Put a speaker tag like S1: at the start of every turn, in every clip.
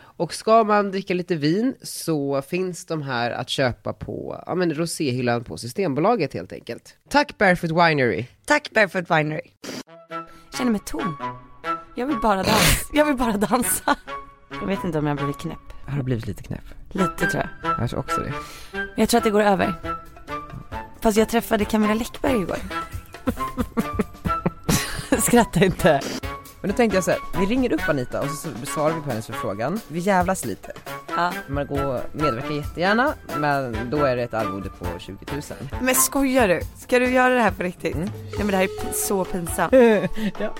S1: Och ska man dricka lite vin så finns de här att köpa på ja, men roséhyllan på Systembolaget helt enkelt. Tack Barefoot Winery!
S2: Tack Barefoot Winery. Känner mig tom. Jag vill bara dansa. Jag vill bara dansa. Jag vet inte om jag har blivit knäpp.
S1: Jag har blivit lite knäpp.
S2: Lite tror jag.
S1: Jag tror också det.
S2: Men jag tror att det går över. Fast jag träffade Camilla Läckberg igår. Skratta inte.
S1: Men då tänkte jag så här, vi ringer upp Anita och så svarar vi på hennes förfrågan. Vi jävlas lite.
S2: Ja.
S1: Margot medverkar jättegärna, men då är det ett arvode på 20 000.
S2: Men skojar du? Ska du göra det här på riktigt? Nej men det här är p- så pinsamt.
S1: ja.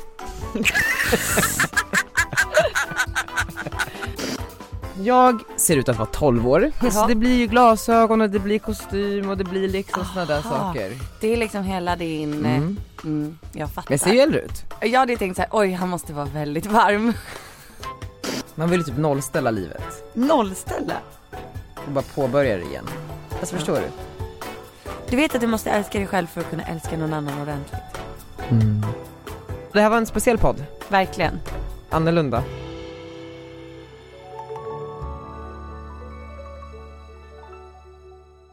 S1: Jag ser ut att vara 12 år, så
S2: Jaha.
S1: det blir ju glasögon och det blir kostym och det blir liksom sådana där
S2: Aha.
S1: saker.
S2: Det är liksom hela din... Mm. Mm, jag fattar.
S1: Jag ser ju äldre ut.
S2: Jag hade tänkt så här, oj han måste vara väldigt varm.
S1: Man vill ju typ nollställa livet
S2: Nollställa.
S1: och bara påbörja det igen. Alltså förstår du?
S2: Du vet att du måste älska dig själv för att kunna älska någon annan ordentligt. Mm.
S1: Det här var en speciell podd,
S2: Verkligen.
S1: annorlunda.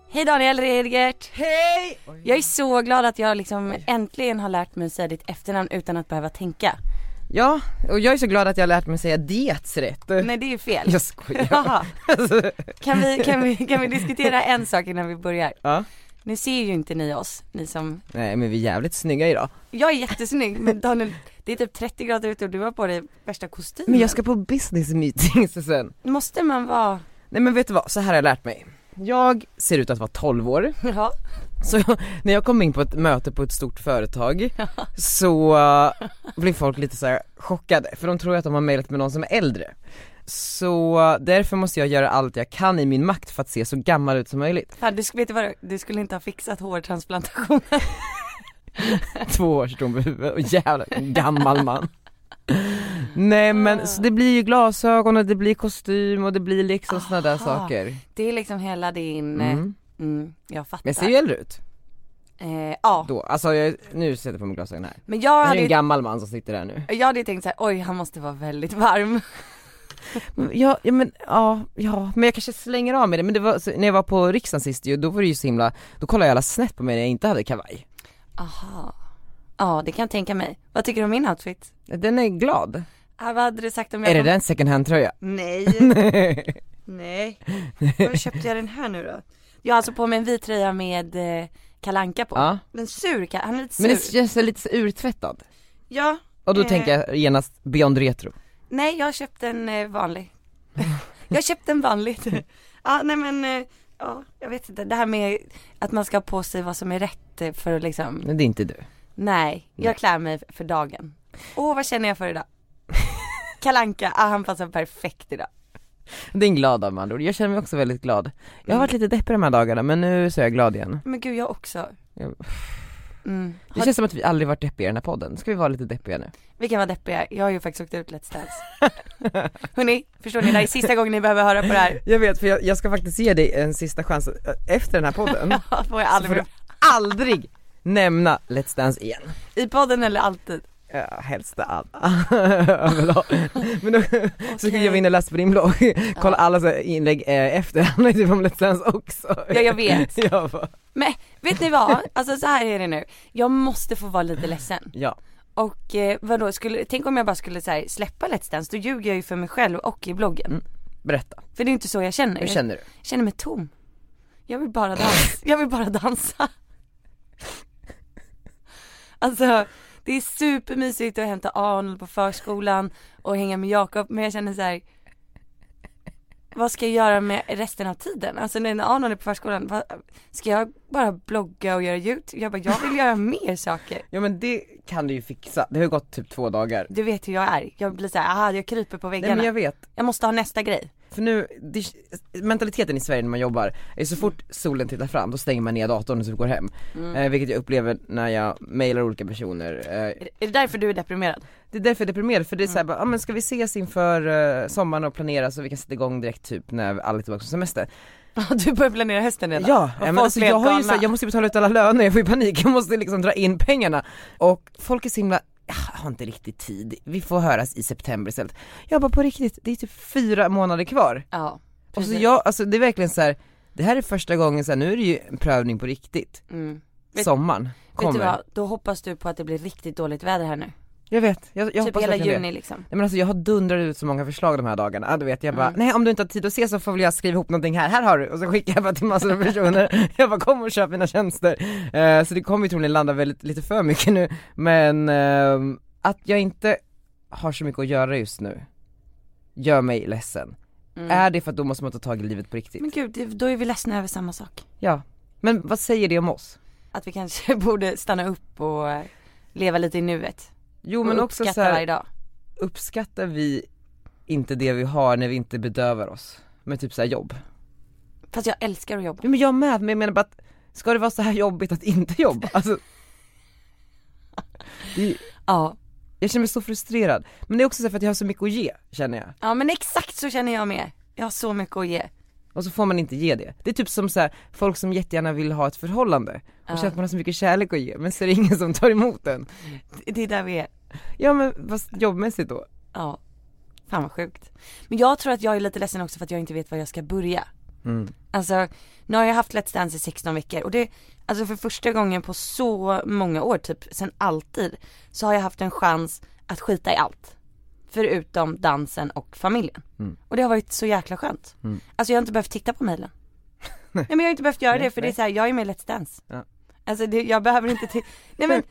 S2: Hej Daniel Redgert.
S1: Hej!
S2: Jag är så glad att jag liksom äntligen har lärt mig att säga ditt efternamn utan att behöva tänka.
S1: Ja, och jag är så glad att jag har lärt mig säga diets rätt.
S2: Nej det är ju fel.
S1: Eh, Jag skojar.
S2: Jaha.
S1: Alltså,
S2: Kan vi, kan, vi, kan vi diskutera en sak innan vi börjar?
S1: ja.
S2: Nu ser ju inte ni oss, ni som
S1: Nej men vi är jävligt snygga idag.
S2: Jag är jättesnygg men Daniel, det är typ 30 grader ute och du har på dig värsta kostymen.
S1: Men jag ska på business meetings sen.
S2: Måste man vara,
S1: Nej men vet du vad, så här har jag lärt mig. Jag ser ut att vara 12 år,
S2: ja,
S1: så jag, när jag kom in på ett möte på ett stort företag så eh, blev folk lite så här chockade för de tror att de har mejlat med någon som är äldre. Så eh, därför måste jag göra allt jag kan i min makt för att se så gammal ut som möjligt.
S2: fan du skulle, vet du, vad, du skulle inte ha fixat hårtransplantation.
S1: Två år står på huvudet och jävla gammal man. Nej men så det blir ju glasögon och det blir kostym och det blir liksom såna där
S2: Aha.
S1: saker.
S2: Det är liksom hela din, eh,
S1: Mm.
S2: mm, jag fattar.
S1: Men jag ser ju äldre ut
S2: eh, ja,
S1: då, alltså jag, nu sätter jag på mig glasögon här.
S2: men jag
S1: Det är
S2: hade
S1: ju en
S2: ju,
S1: gammal man som sitter där nu.
S2: jag hade ju tänkt såhär, oj han måste vara väldigt varm.
S1: Mm, Ja, ja men, ja, ja, men jag kanske slänger av mig det, men det var, så, när jag var på riksdagen sist ju, då var det ju så himla, då kollade jag alla snett på mig när jag inte hade kavaj.
S2: Aha. Ja det kan jag tänka mig. Vad tycker du om min outfit?
S1: Den är glad.
S2: Ah, vad hade du sagt om jag
S1: Är det
S2: kom-
S1: den second hand tröja?
S2: Nej. Nej. Var köpte jag den här nu då? Jag har alltså på mig en vit tröja med eh, kalanka på.
S1: Ja.
S2: Den sur, Ka- han är lite sur.
S1: Men den känns så lite så urtvättad.
S2: Ja,
S1: Och då
S2: Eh.
S1: tänker jag genast beyond retro.
S2: nej jag köpte en eh, vanlig. jag köpte en vanlig. ja, nej men, eh, ja, jag vet inte. Det här med att man ska ha på sig vad som är rätt eh, för att liksom,
S1: Men det är inte du.
S2: nej, jag
S1: Nej.
S2: klär mig för dagen. Åh, vad känner jag för idag? Kalanka, ah, han passar perfekt idag.
S1: Det är en glad dag med andra ord. Jag känner mig också väldigt glad. Jag har varit lite deppig de här dagarna men nu så är jag glad igen.
S2: Men gud, jag också.
S1: Jag-
S2: Mm.
S1: Det känns som att vi aldrig varit deppiga i den här podden. Ska vi vara lite deppiga nu?
S2: Vi kan vara deppiga, jag har ju faktiskt åkt ut Let's Dance. Hörni, förstår ni, det här är sista gången ni behöver höra på det här.
S1: Jag vet för jag, jag ska faktiskt ge dig en sista chans efter den här podden.
S2: Får jag aldrig
S1: Så får aldrig nämna Let's Dance igen.
S2: I podden eller alltid?
S1: Ja, helst all- överlag. Men då, så gick jag in och läste på din blogg, kolla alla så här inlägg eh, efter, handlar ju typ om Let's Dance också.
S2: Ja, jag vet.
S1: Jag bara,
S2: Men vet ni vad? Alltså så här är det nu. Jag måste få vara lite ledsen.
S1: ja.
S2: Och eh, vadå, skulle, tänk om jag bara skulle så här, släppa Let's Dance, då ljuger jag ju för mig själv och i bloggen.
S1: Mm. Berätta,
S2: För det är inte så jag känner.
S1: hur känner du?
S2: Jag känner mig tom. Jag vill bara dansa, jag vill bara dansa. Alltså det är supermysigt att hämta Arnold på förskolan och hänga med Jakob men jag känner så här. Vad ska jag göra med resten av tiden? Alltså när Arnold är på förskolan, vad, ska jag bara blogga och göra YouTube? Jag bara, jag vill göra mer saker.
S1: Ja men det kan du ju fixa, det har ju gått typ två dagar.
S2: Du vet hur jag är, jag blir så här, aha jag kryper på väggarna.
S1: Nej men jag
S2: jag...
S1: vet,
S2: måste ha nästa grej.
S1: för nu, det, mentaliteten i Sverige när man jobbar är så fort solen tittar fram då stänger man ner datorn och så går hem.
S2: Mm.
S1: Eh, vilket jag upplever när jag mailar olika personer. Eh,
S2: Är det därför du är deprimerad?
S1: det är därför jag är deprimerad för det är
S2: Mm.
S1: såhär bara, ah, men ska vi ses inför eh, sommaren och planera så vi kan sätta igång direkt typ när alla är tillbaka från semester.
S2: Du börjar planera hösten redan?
S1: Ja,
S2: Och
S1: ja men
S2: folk
S1: alltså,
S2: blir
S1: jag, har ju
S2: galna.
S1: så här, jag måste ju betala ut alla löner, jag får ju panik, jag måste liksom dra in pengarna. Och folk är så himla, "Ah, jag har inte riktigt tid, vi får höras i september istället. Jag bara på riktigt, det är typ fyra månader kvar.
S2: Ja,
S1: Och så
S2: precis.
S1: jag, alltså det är verkligen så här. det här är första gången så här, nu är det ju en prövning på riktigt.
S2: Mm. Vet-
S1: Sommaren kommer.
S2: Vet du vad, då hoppas du på att det blir riktigt dåligt väder här nu.
S1: Jag vet, jag, jag
S2: typ
S1: hoppas
S2: hela
S1: verkligen det.
S2: juni liksom.
S1: Nej men alltså jag har dundrat ut så många förslag de här dagarna, ja, du vet jag bara,
S2: Mm.
S1: nej om du inte har tid att se så får väl jag skriva ihop någonting här, här har du! Och så skickar jag bara till massor av personer, jag bara kom och köp mina tjänster. Eh, så det kommer ju troligen landa väldigt, lite för mycket nu, men ehm, att jag inte har så mycket att göra just nu gör mig ledsen.
S2: Mm.
S1: Är det för att då måste man ta tag i livet på riktigt?
S2: Men gud, det- då är vi ledsna över samma sak.
S1: Ja. Men vad säger det om oss?
S2: Att vi kanske borde stanna upp och eh, leva lite i nuet.
S1: Jo
S2: Och
S1: men också
S2: uppskatta
S1: så
S2: varje
S1: här,
S2: dag.
S1: uppskattar vi inte det vi har när vi inte bedövar oss? Med typ så här jobb.
S2: Fast jag älskar att jobba.
S1: Jo men jag med, men jag menar bara att ska det vara så här jobbigt att inte jobba? Alltså, det är,
S2: Ja.
S1: jag känner mig så frustrerad. Men det är också så här för att jag har så mycket att ge, känner jag.
S2: ja, men exakt så känner jag med. Jag har så mycket att ge.
S1: Och så får man inte ge det. Det är typ som så här, folk som jättegärna vill ha ett förhållande och
S2: Ja.
S1: känner att man har så mycket kärlek att ge, men så är det ingen som tar emot den.
S2: Det är där vi är.
S1: Ja men fast jobbmässigt då?
S2: Ja. Fan vad sjukt. Men jag tror att jag är lite ledsen också för att jag inte vet var jag ska börja.
S1: Mm.
S2: Alltså, nu har jag haft Let's Dance i 16 veckor och det, alltså för första gången på så många år, typ sen alltid, så har jag haft en chans att skita i allt. Förutom dansen och familjen.
S1: Mm.
S2: Och det har varit så jäkla skönt.
S1: Mm.
S2: Alltså jag har inte behövt titta på mailen. nej men jag har inte behövt göra
S1: Nej,
S2: det för det är
S1: nej.
S2: såhär, jag är med i Let's Dance.
S1: Ja.
S2: Alltså det, jag behöver inte, ti- nej men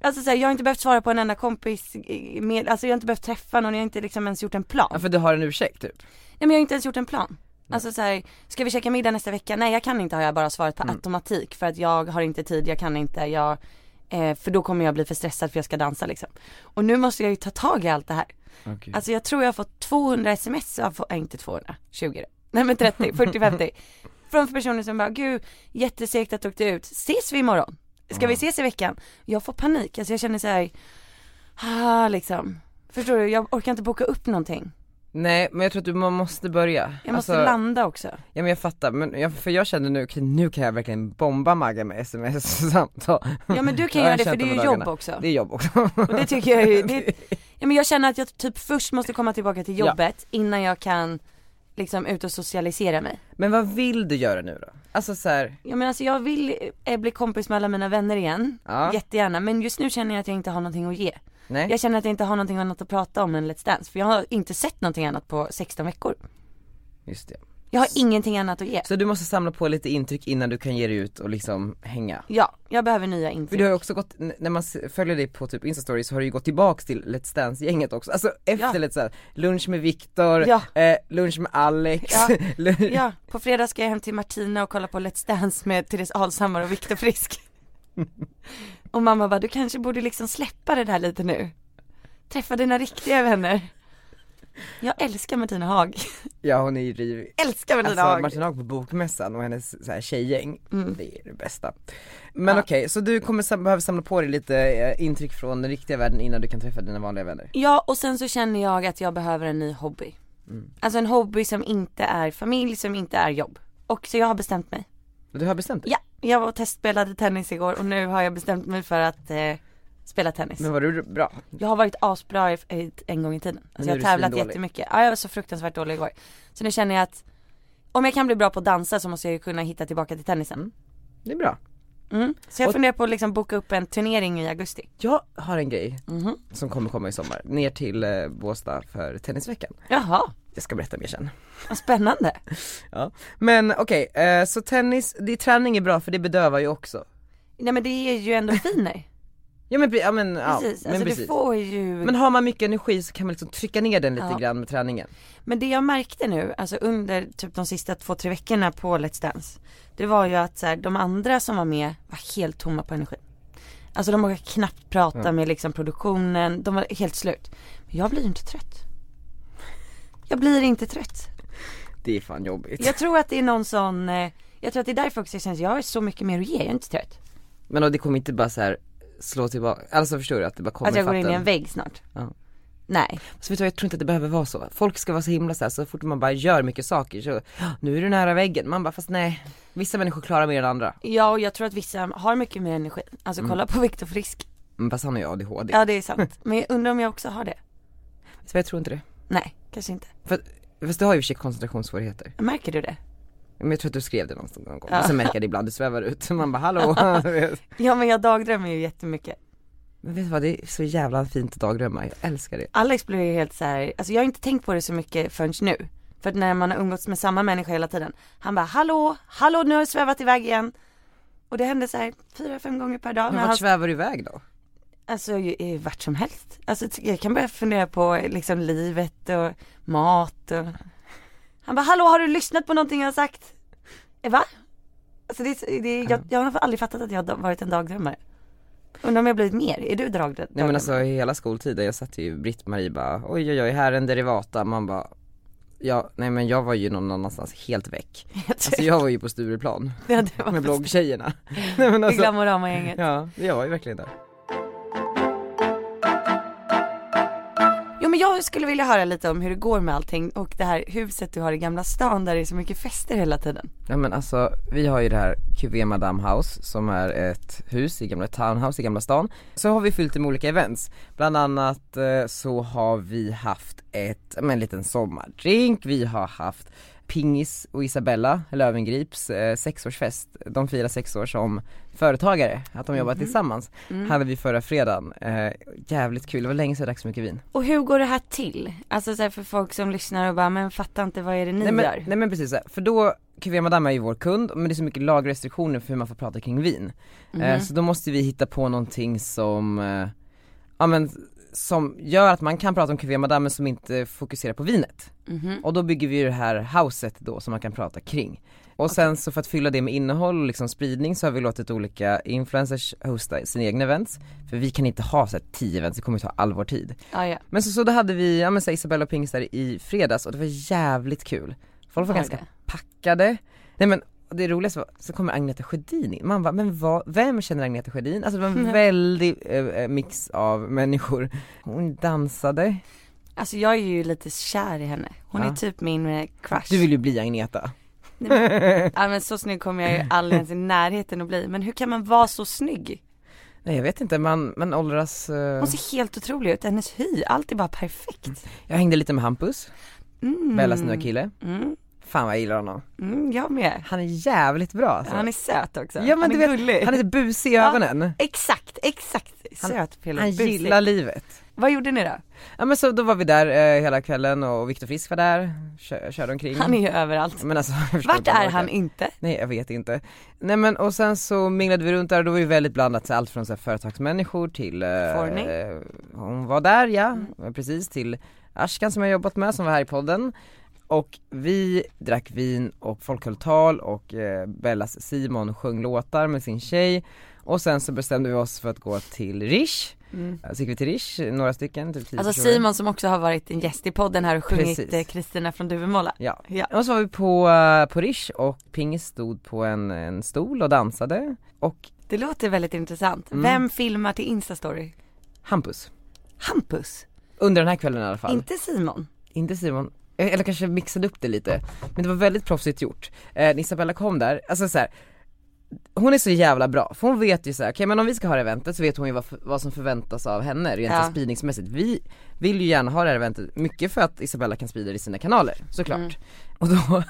S2: Alltså såhär, jag har inte behövt svara på en enda kompis, eh, med, alltså jag har inte behövt träffa någon, jag har inte liksom ens gjort en plan.
S1: Ja för du har en ursäkt typ.
S2: Nej men jag har inte ens gjort en plan. Alltså så här, ska vi käka middag nästa vecka? Nej jag kan inte har jag bara svarat på automatik för att jag har inte tid, jag kan inte, jag, eh, för då kommer jag bli för stressad för jag ska dansa liksom. Och nu måste jag ju ta tag i allt det här.
S1: Okay.
S2: Alltså jag tror jag har fått 200 sms, av, nej inte 200, 20 då. nej men 30, 40, 50. Från personer som bara, gud jättesegt att du åkte ut, ses vi imorgon? Ska vi ses i veckan? Jag får panik, alltså jag känner så här, ah, liksom. Förstår du, jag orkar inte boka upp någonting.
S1: Nej men jag tror att du, man måste börja.
S2: Jag måste
S1: Alltså-
S2: landa också.
S1: Ja men jag fattar, men jag, för jag känner nu, okej, nu kan jag verkligen bomba Magga med sms-samtal.
S2: Ja men du kan
S1: Jag har
S2: göra det för
S1: känt
S2: det
S1: de
S2: är ju
S1: här
S2: jobb
S1: dagarna.
S2: också.
S1: Det är jobb också.
S2: Och det tycker jag ju, det, ja, men jag känner att jag typ först måste komma tillbaka till
S1: Ja.
S2: jobbet innan jag kan liksom ut och socialisera mig.
S1: Men vad vill du göra nu då? Alltså så här,
S2: Ja men alltså jag vill eh, bli kompis med alla mina vänner igen,
S1: ja,
S2: jättegärna. Men just nu känner jag att jag inte har någonting att ge.
S1: nej.
S2: Jag känner att jag inte har någonting annat att prata om än Let's Dance. För jag har inte sett någonting annat på 16 veckor.
S1: Just det.
S2: Jag har ingenting annat att ge.
S1: Så du måste samla på lite intryck innan du kan ge dig ut och liksom hänga.
S2: Ja, jag behöver nya
S1: För
S2: intryck.
S1: du har ju också gått, n- när man s- följer dig på typ instastory så har du ju gått tillbaks till Let's Dance-gänget också, alltså efter
S2: Ja.
S1: Let's Dance, lunch med Viktor,
S2: Ja.
S1: eh, lunch med Alex,
S2: Ja.
S1: lunch-
S2: Ja, på fredag ska jag hem till Martina och kolla på Let's Dance med Therese Alshammar och Viktor Frisk. Och mamma bara, du kanske borde liksom släppa det där lite nu. Träffa dina riktiga vänner. Jag älskar Martina Haag.
S1: ja hon är ju rivig.
S2: Älskar Martina
S1: Alltså
S2: Haag.
S1: Martin Haag på bokmässan och hennes så här, tjejgäng,
S2: Mm.
S1: det är det bästa. Men
S2: Ja.
S1: okej, så du kommer sam- behöva samla på dig lite eh, intryck från den riktiga världen innan du kan träffa dina vanliga vänner.
S2: Ja, och sen så känner jag att jag behöver en ny hobby.
S1: Mm.
S2: Alltså en hobby som inte är familj, som inte är jobb. Och så jag har bestämt mig.
S1: Du har bestämt dig?
S2: Ja, jag var och testspelade tennis igår och nu har jag bestämt mig för att eh, spela tennis.
S1: Men var du bra?
S2: Jag har varit asbra i- i- en gång i tiden.
S1: Men
S2: Alltså
S1: nu
S2: jag
S1: är
S2: har
S1: du
S2: tävlat
S1: svindålig.
S2: jättemycket. Ja, jag var så fruktansvärt dålig igår. Så nu känner jag att om jag kan bli bra på att dansa så måste jag ju kunna hitta tillbaka till tennisen.
S1: Det är bra.
S2: Mm. Så jag
S1: Och-
S2: funderar på att liksom boka upp en turnering i augusti.
S1: Jag har en grej
S2: Mhm.
S1: som kommer komma i sommar, ner till eh, Båstad för tennisveckan.
S2: Jaha,
S1: Jag ska berätta mer sen.
S2: vad spännande.
S1: Ja. Men okej, eh, så tennis, det, träning är bra för det bedövar ju också.
S2: Nej men det är ju endorfiner.
S1: Ja men, pre- ja, men, ja,
S2: precis,
S1: men
S2: alltså du
S1: precis.
S2: får ju.
S1: Men har man mycket energi så kan man liksom trycka ner den lite
S2: Ja.
S1: grann med träningen.
S2: Men det jag märkte nu, alltså under typ de sista två, tre veckorna på Let's Dance. Det var ju att så här, de andra som var med var helt tomma på energi. Alltså de vågade knappt prata med liksom produktionen, de var helt slut. Men jag blir ju inte trött. Jag blir inte trött.
S1: det är fan jobbigt.
S2: Jag tror att det är någon sån, eh, jag tror att det är därför också jag känner att jag har så mycket mer att ge, jag är inte trött.
S1: Men och det kommer inte bara så här slå tillbaka, alltså förstår du att det bara kommer
S2: Att jag går in i
S1: fatten.
S2: en vägg snart.
S1: Ja.
S2: Nej.
S1: Så vet du, vad, jag tror inte att det behöver vara så. Folk ska vara så himla så här, så fort man bara gör mycket saker så, nu är du nära väggen. Man bara, fast nej. Vissa människor klarar mer än andra.
S2: Ja och jag tror att vissa har mycket mer energi. Alltså kolla på Viktor Frisk.
S1: Men fast han har ju ADHD.
S2: Ja det är sant. Men jag undrar om jag också har det.
S1: Så jag tror inte det.
S2: Nej, kanske inte.
S1: För, fast du har ju i och för sig koncentrationssvårigheter.
S2: Märker du det?
S1: Men jag tror att du skrev det någonstans någon gång.
S2: Ja.
S1: Och sen märker jag det ibland, du svävar ut. Man bara, hallå. vet
S2: Ja men jag dagdrömmer ju jättemycket.
S1: Men vet du vad, det är så jävla fint att dagdrömma. Jag älskar det.
S2: Alex blev ju helt så här, alltså jag har inte tänkt på det så mycket förrän nu. För att när man har umgåtts med samma människa hela tiden. Han bara hallå, hallå nu har jag svävat iväg igen. Och det hände så här fyra, fem gånger per dag.
S1: Men
S2: när
S1: vart
S2: han
S1: svävar du iväg då?
S2: Alltså ju- eh, vart som helst. Alltså t- jag kan börja fundera på eh, liksom livet och mat och Han bara, hallå har du lyssnat på någonting jag har sagt? Eh, va? Alltså det, är så- det, är- jag, jag har aldrig fattat att jag har da- varit en dagdrömmare. Undrar om jag blivit mer, är du dagdrömmare?
S1: Nej men alltså hela skoltiden, jag satt ju Britt-Marie bara oj oj oj här är en derivata, man bara Ja, nej men jag var ju någon annanstans helt väck. Alltså jag var ju på Stureplan
S2: ja, det var
S1: med bloggtjejerna. Nej men alltså,
S2: Glamorama-gänget.
S1: ja jag var ju verkligen där.
S2: Jo men jag skulle vilja höra lite om hur det går med allting och det här huset du har i Gamla stan där det är så mycket fester hela tiden.
S1: Nej men alltså vi har ju det här QV Madame House som är ett hus i gamla, ett townhouse i Gamla stan. Så har vi fyllt det med olika events. Bland annat eh, så har vi haft ett, ja, men en liten sommardrink, vi har haft Pingis och Isabella Lövengrips eh, sexårsfest. De firar sex år som företagare, att de jobbar tillsammans. Hade vi förra fredagen. Eh, jävligt kul, det var länge sedan jag drack så mycket vin.
S2: Och hur går det här till? Alltså så här för folk som lyssnar och bara, men fattar inte vad är det ni
S1: nej,
S2: gör?
S1: men, Eh, nej men precis, så här. för då, QV Madame är ju vår kund, men det är så mycket lagrestriktioner för hur man får prata kring vin.
S2: Mm-hmm. Mhm.
S1: Eh, så då måste vi hitta på någonting som, eh, ja men som gör att man kan prata om QV Madame men som inte fokuserar på vinet.
S2: Mhm.
S1: Och då bygger vi ju det här houset då som man kan prata kring. Och sen så för att fylla det med innehåll och liksom spridning så har vi låtit olika influencers hosta sina egna events. För vi kan inte ha så här 10 events, det kommer ta all vår tid.
S2: Ja, ja.
S1: Men så, så då hade vi, ja men så här, Isabella och Pingis där i fredags och det var jävligt kul. Folk var
S2: Var
S1: ganska
S2: det?
S1: packade. Nej men det roligaste var, så kommer Agneta Sjödin in. Man bara, men vad, vem känner Agneta Sjödin? Alltså det var en
S2: Mm.
S1: väldig eh, eh, mix av människor. Hon dansade.
S2: Alltså jag är ju lite kär i henne. Hon
S1: Ja.
S2: är typ min eh, crush.
S1: Du vill ju bli Agneta.
S2: Ja men så snygg kommer jag ju aldrig ens i närheten att bli. Men hur kan man vara så snygg?
S1: Nej jag vet inte, man, man åldras. eh,
S2: Hon ser helt otrolig ut. Hennes hy, allt är bara perfekt.
S1: Jag hängde lite med Hampus,
S2: Mm.
S1: Bellas nya kille.
S2: Mm.
S1: Fan vad jag gillar honom.
S2: Mm, jag med.
S1: Han är jävligt bra alltså.
S2: Han är söt också.
S1: Ja, men
S2: han
S1: du
S2: är
S1: vet,
S2: gullig.
S1: Han är lite busig i
S2: Ja.
S1: ögonen.
S2: Exakt, exakt.
S1: Han-
S2: Söt Pelle.
S1: Han
S2: Busig.
S1: gillar Mm. livet.
S2: Vad gjorde ni då?
S1: Ja men så då var vi där eh, hela kvällen och Viktor Frisk var där, kö- körde omkring.
S2: Han är ju överallt.
S1: men alltså, jag förstår
S2: Vart
S1: inte vad
S2: är
S1: det
S2: han inte?
S1: Nej jag vet inte. Nej men och sen så minglade vi runt där och då var det väldigt blandat, så allt från så här, företagsmänniskor till eh,
S2: Forni.
S1: eh, Hon var där ja,
S2: Mm.
S1: precis till Ashkan som jag jobbat med som var här i podden. Och vi drack vin och folk höll tal och eh, Bellas Simon sjöng låtar med sin tjej. Och sen så bestämde vi oss för att gå till Rish, så gick vi till Rish, några stycken, typ tio
S2: Mm. Alltså
S1: personer.
S2: Simon som också har varit en gäst i podden här och sjungit
S1: Precis.
S2: eh, Kristina från Duvemåla.
S1: Ja.
S2: Ja.
S1: Och så var vi på, eh, på Rish och Pingis stod på en, en stol och dansade och
S2: Det låter väldigt intressant.
S1: Mm.
S2: Vem filmar till Instastory?
S1: Hampus.
S2: Hampus,
S1: Under den här kvällen i alla fall.
S2: inte Simon.
S1: Inte Simon, Eh, eller kanske mixade upp det lite. Men det var väldigt proffsigt gjort. Eh, Isabella kom där, alltså så här. Hon är så jävla bra, för hon vet ju så här, okej men om vi ska ha det här eventet så vet hon ju vad, f- vad som förväntas av henne rent
S2: Ja.
S1: ja. spridningsmässigt. Vi vill ju gärna ha det här eventet, mycket för att Isabella kan sprida det i sina kanaler, såklart.
S2: Mm.
S1: Och då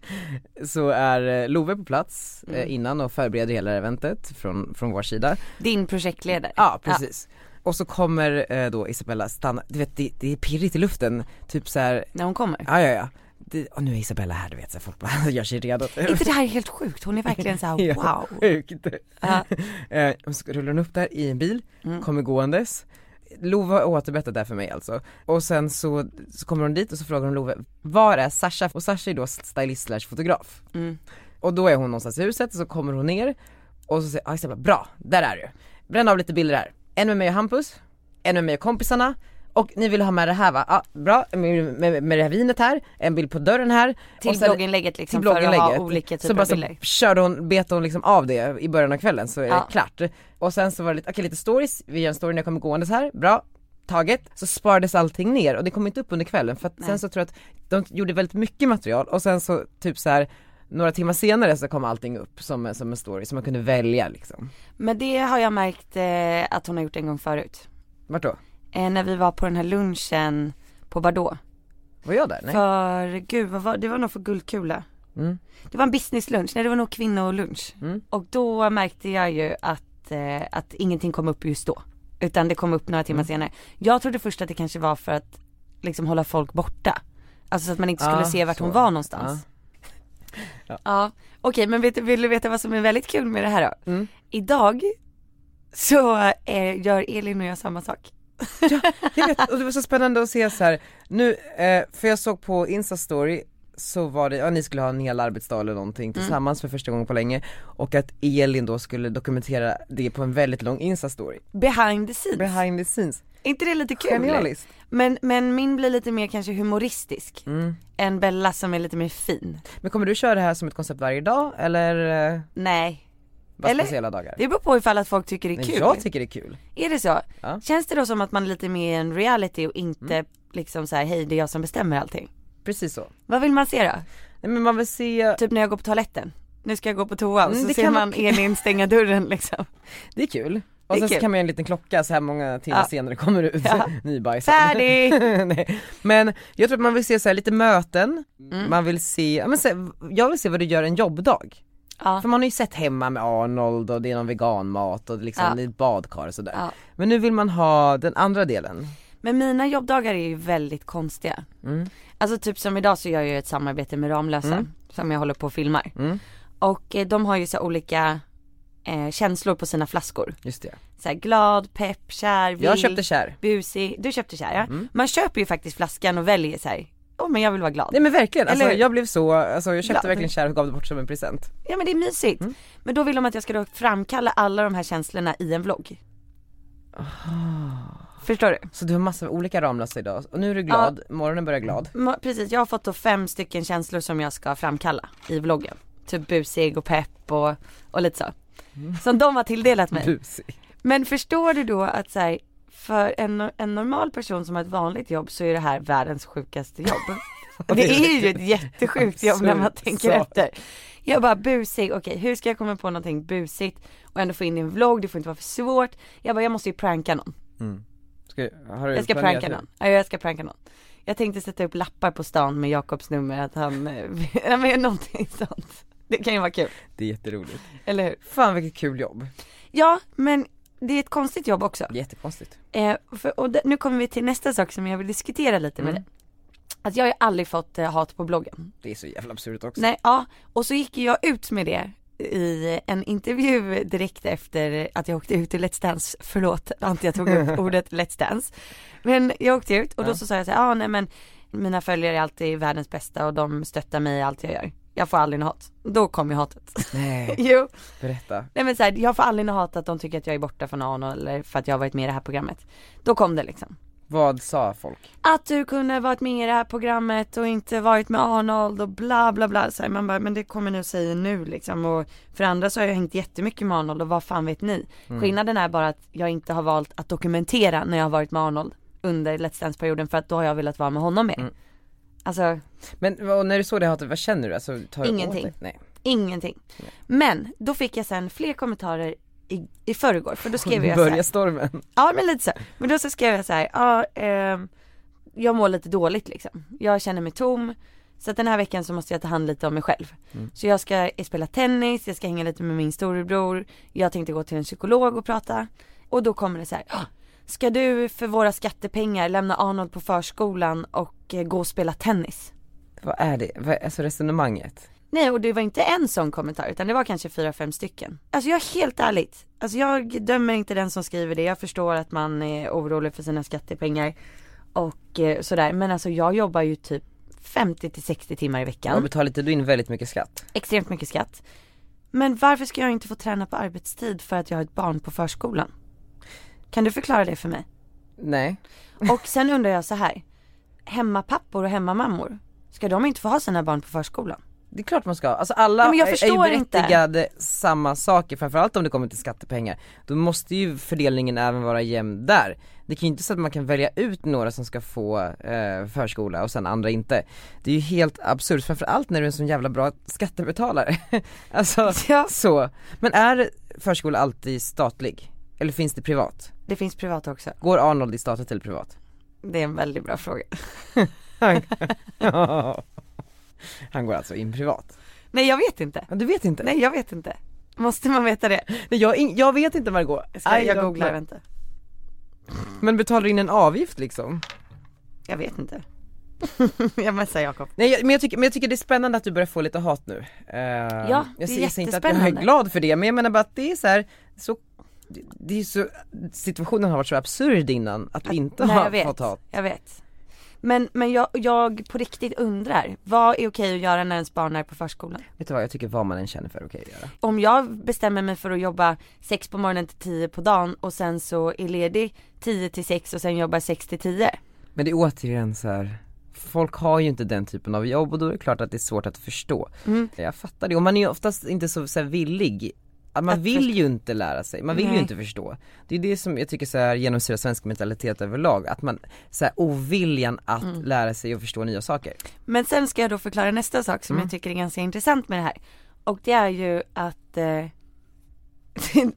S1: så är eh, Love på plats eh, innan och förbereder hela det här eventet från, från vår sida.
S2: Din projektledare.
S1: Ja precis. Och så kommer eh, då Isabella stanna, du vet det, det är pirrigt i luften, typ så här,
S2: När hon kommer.
S1: ja ja ja. Det, och nu är Isabella här du vet så här, folk bara gör sig redo.
S2: Är inte det här helt sjukt? Hon är verkligen så här,
S1: Ja,
S2: wow.
S1: Sjukt.
S2: Ja. Mm.
S1: Eh, och så rullar hon upp där i en bil, kommer gåendes. Love har återberättat det här för mig alltså. Och sen så, så kommer hon dit och så frågar hon Love, var är Sasha? Och Sasha är då stylist slash fotograf.
S2: Mm.
S1: Och då är hon någonstans i huset och så kommer hon ner och så säger ah, Isabella, bra, där är du. Bränn av lite bilder här. En med mig och Hampus, en med mig och kompisarna Och ni vill ha med det här va? Ja, bra, med, med, med det här vinet här, en bild på dörren här.
S2: Till
S1: och sen-
S2: blogginlägget liksom
S1: till
S2: för att
S1: blogginlägget.
S2: ha olika
S1: Så
S2: typer
S1: bara
S2: av
S1: så
S2: bilder.
S1: körde hon, bet hon liksom av det i början av kvällen så är
S2: Ja.
S1: det klart. Och sen så var det lite, okej lite stories, vi gör en story när jag kommer gåendes här, bra, taget. Så sparades allting ner och det kom inte upp under kvällen för att
S2: Nej.
S1: sen så tror jag att de gjorde väldigt mycket material och sen så typ så här några timmar senare så kom allting upp som, en- som en story som man kunde välja liksom.
S2: Men det har jag märkt eh, att hon har gjort en gång förut.
S1: Vart då?
S2: Eh, när vi var på den här lunchen på Bardot.
S1: Var jag där? Nej?
S2: För, gud vad var det? var nog för Guldkula.
S1: Mm.
S2: Det var en businesslunch, nej det var nog kvinnolunch.
S1: Mm.
S2: Och då märkte jag ju att, eh, att ingenting kom upp just då. Utan det kom upp några
S1: Mm.
S2: timmar senare. Jag trodde först att det kanske var för att liksom hålla folk borta. Alltså så att man inte skulle
S1: Ja,
S2: se vart
S1: Ah, så. Ah.
S2: hon var någonstans.
S1: Ja.
S2: Ja, okej men vet, vill du veta vad som är väldigt kul med det här då?
S1: Mm.
S2: Idag så eh, gör Elin och jag samma sak.
S1: Jag vet, och det var så spännande att se så här. nu, eh, för jag såg på Insta-story så var det, ja ni skulle ha en hel arbetsdag eller
S2: Mm.
S1: någonting tillsammans för första gången på länge och att Elin då skulle dokumentera det på en väldigt lång Insta-story.
S2: Behind the scenes.
S1: Behind the scenes,
S2: Är inte det lite kul?
S1: genialiskt.
S2: Men, men min blir lite mer kanske humoristisk
S1: Mm.
S2: än Bella som är lite mer fin.
S1: Men kommer du köra det här som ett koncept varje dag eller eh,
S2: Nej,
S1: bara
S2: Eller-
S1: speciella dagar?
S2: det beror på ifall att folk tycker det är
S1: Men
S2: kul.
S1: jag tycker det är kul.
S2: Är det så?
S1: Ja. Mm.
S2: Känns det då som att man är lite mer i en reality och inte liksom så här, hej det är jag som bestämmer allting?
S1: Precis så.
S2: Vad vill man se då?
S1: Nej men man vill se,
S2: Typ när jag går på toaletten. Nu ska jag gå på toa och
S1: Mm,
S2: så
S1: det
S2: ser
S1: kan
S2: man Elin stänga dörren liksom.
S1: det är kul.
S2: Det
S1: Och
S2: är
S1: sen
S2: kul.
S1: så kan man göra en liten klocka så här många timmar
S2: Ja.
S1: senare kommer det ut
S2: Ja.
S1: nybajsad.
S2: Färdig!
S1: Nej. Men jag tror att man vill se så här lite möten,
S2: Mm.
S1: man vill se, ja, men så, jag vill se vad du gör en jobbdag.
S2: Ja.
S1: För man har ju sett hemma med Arnold och det är någon veganmat och liksom
S2: Ja.
S1: det är ett badkar och sådär.
S2: Ja.
S1: Men nu vill man ha den andra delen.
S2: Men mina jobbdagar är ju väldigt konstiga.
S1: Mm.
S2: Alltså typ som idag så gör jag ju ett samarbete med Ramlösa som jag håller på och filmar.
S1: Mm.
S2: Och eh, de har ju så här olika eh, känslor på sina flaskor.
S1: Just det.
S2: Så här glad, pepp, kär, vild.
S1: Jag köpte Mm. kär.
S2: busig, du köpte kär ja. Man köper ju faktiskt flaskan och väljer så här, åh men jag vill vara glad.
S1: Nej men verkligen, alltså,
S2: Eller hur?
S1: jag blev så, alltså, jag köpte
S2: Glad.
S1: verkligen kär och gav det bort som en present.
S2: Ja men det är mysigt.
S1: Mm.
S2: Men då vill de att jag ska då framkalla alla de här känslorna i en vlogg. Förstår du?
S1: Så du har massor av olika Ramlösa idag och nu är du glad, morgonen börjar glad.
S2: Ma- Precis, jag har fått då fem stycken känslor som jag ska framkalla i vloggen. Typ busig och pepp och, och lite så. Som de har tilldelat mig.
S1: Busig.
S2: Men förstår du då att så här, för en, en normal person som har ett vanligt jobb så är det här världens sjukaste jobb. det är ju ett jättesjukt jobb när man
S1: Absurd
S2: tänker
S1: sak.
S2: efter. Jag bara busig, okej hur ska jag komma på någonting busigt och ändå få in i en vlogg, det får inte vara för svårt. Jag bara jag måste ju pranka någon.
S1: Mm. Ska, har du
S2: Jag ska
S1: planerat
S2: pranka
S1: det?
S2: någon. Ja jag ska pranka någon. Jag tänkte sätta upp lappar på stan med Jakobs nummer att han, eh, ja men någonting sånt. Det kan ju vara kul,
S1: Det är jätteroligt.
S2: eller hur?
S1: Fan vilket kul jobb.
S2: Ja men det är ett konstigt jobb också.
S1: Det är jättekonstigt.
S2: Eh, för, och d- nu kommer vi till nästa sak som jag vill diskutera lite med
S1: Mm.
S2: dig. Att jag har ju aldrig fått eh, hat på bloggen.
S1: Det är så jävla absurt också.
S2: Nej, ja. Och så gick ju jag ut med det i en intervju direkt efter att jag åkte ut i Let's Dance, förlåt att jag tog upp ordet Let's Dance. Men jag åkte ut och då
S1: Ja.
S2: så sa jag så här, ah, nej men mina följare är alltid världens bästa och de stöttar mig i allt jag gör. Jag får aldrig något hat. Då kom ju hatet.
S1: Nej,
S2: jo.
S1: berätta.
S2: Nej men så här, jag får aldrig något hat att de tycker att jag är borta från Arno eller för att jag har varit med i det här programmet. Då kom det liksom.
S1: Vad sa folk?
S2: att du kunde varit med i det här programmet och inte varit med Arnold och bla bla bla. Så här, man bara, men det kommer ni att säga nu liksom. Och för andra så har jag hängt jättemycket med Arnold och vad fan vet ni?
S1: Mm.
S2: Skillnaden är bara att jag inte har valt att dokumentera när jag har varit med Arnold under Let's Dance-perioden för att då har jag velat vara med honom mer.
S1: Mm.
S2: Alltså
S1: Men vad- när du såg det hatet, vad känner du? Alltså, tar du åt
S2: Ingenting.
S1: dig? Nej.
S2: ingenting. Men då fick jag sen fler kommentarer i, i förrgår för då skrev jag så här,
S1: Börjar stormen.
S2: Ja men lite så. Men då så skrev jag så här, ja ehm, jag mår lite dåligt liksom. Jag känner mig tom. Så att den här veckan så måste jag ta hand lite om mig själv. Så jag ska spela tennis, jag ska hänga lite med min storebror. Jag tänkte gå till en psykolog och prata. Och då kommer det så här, "Ah, ska du för våra skattepengar lämna Arnold på förskolan och eh, gå och spela tennis?
S1: Vad är det? Vad är, alltså resonemanget?
S2: Nej och det var inte en sån kommentar utan det var kanske fyra, fem stycken. Alltså jag är helt ärligt, alltså jag dömer inte den som skriver det. Jag förstår att man är orolig för sina skattepengar och eh, sådär. Men alltså jag jobbar ju typ 50 till 60 timmar i
S1: Ja.
S2: veckan.
S1: Betalar inte du in väldigt mycket skatt?
S2: Extremt mycket skatt. Men varför ska jag inte få träna på arbetstid för att jag har ett barn på förskolan? Kan du förklara det för mig?
S1: Nej.
S2: Och sen undrar jag så här. Hemmapappor och hemmamammor, ska de inte få ha sina barn på förskolan?
S1: Det är klart man ska, alltså alla
S2: Ja, men jag
S1: är- är ju
S2: förstår inte.
S1: berättigade samma saker, framförallt om det kommer till skattepengar. Då måste ju fördelningen även vara jämn där. Det kan ju inte så att man kan välja ut några som ska få eh, förskola och sen andra inte. Det är ju helt absurt, framförallt när du är en sån jävla bra skattebetalare. alltså
S2: Ja.
S1: så. Men är förskola alltid statlig? Eller finns det privat?
S2: Det finns privata också.
S1: Går Arnold i statligt eller privat?
S2: Det är en väldigt bra fråga.
S1: Han går alltså in privat.
S2: Nej jag vet inte.
S1: Men du vet inte?
S2: Nej jag vet inte. Måste man veta det?
S1: Nej, jag, har ing- jag vet inte Margot.
S2: Ska
S1: I
S2: jag
S1: don't
S2: googlar
S1: know.
S2: vänta.
S1: Men betalar du in en avgift liksom?
S2: Jag vet inte. jag messar Jakob.
S1: Nej jag, men, jag tycker, men jag tycker det är spännande att du börjar få lite hat nu. Eh,
S2: det är
S1: jag säger så inte att jag är
S2: jättespännande.
S1: glad för det men jag menar bara att det är så här, så, det, det är så, situationen har varit så absurd innan att vi inte
S2: Nej, jag
S1: har
S2: vet.
S1: fått hat.
S2: Jag vet. Men, men jag, jag på riktigt undrar, vad är okej att göra när ens barn är på förskolan?
S1: Vet du vad, jag tycker vad man än känner för är okej att göra.
S2: Om jag bestämmer mig för att jobba 6 på morgonen till 10 på dagen och sen så är ledig 10 till 6 och sen jobbar 6 till 10.
S1: Men det är återigen så här. Folk har ju inte den typen av jobb och då är det klart att det är svårt att förstå.
S2: Mm.
S1: Jag fattar det, och man är ju oftast inte så, så här, villig. Att Man
S2: Att
S1: vill ju inte lära sig, man vill ju
S2: Nej.
S1: inte förstå. Det är det som jag tycker så här genomsyrar svensk mentalitet överlag, att man, så här, oviljan att
S2: Mm.
S1: lära sig och förstå nya saker.
S2: Men sen ska jag då förklara nästa sak som jag tycker är ganska intressant med det här. Och det är ju att eh,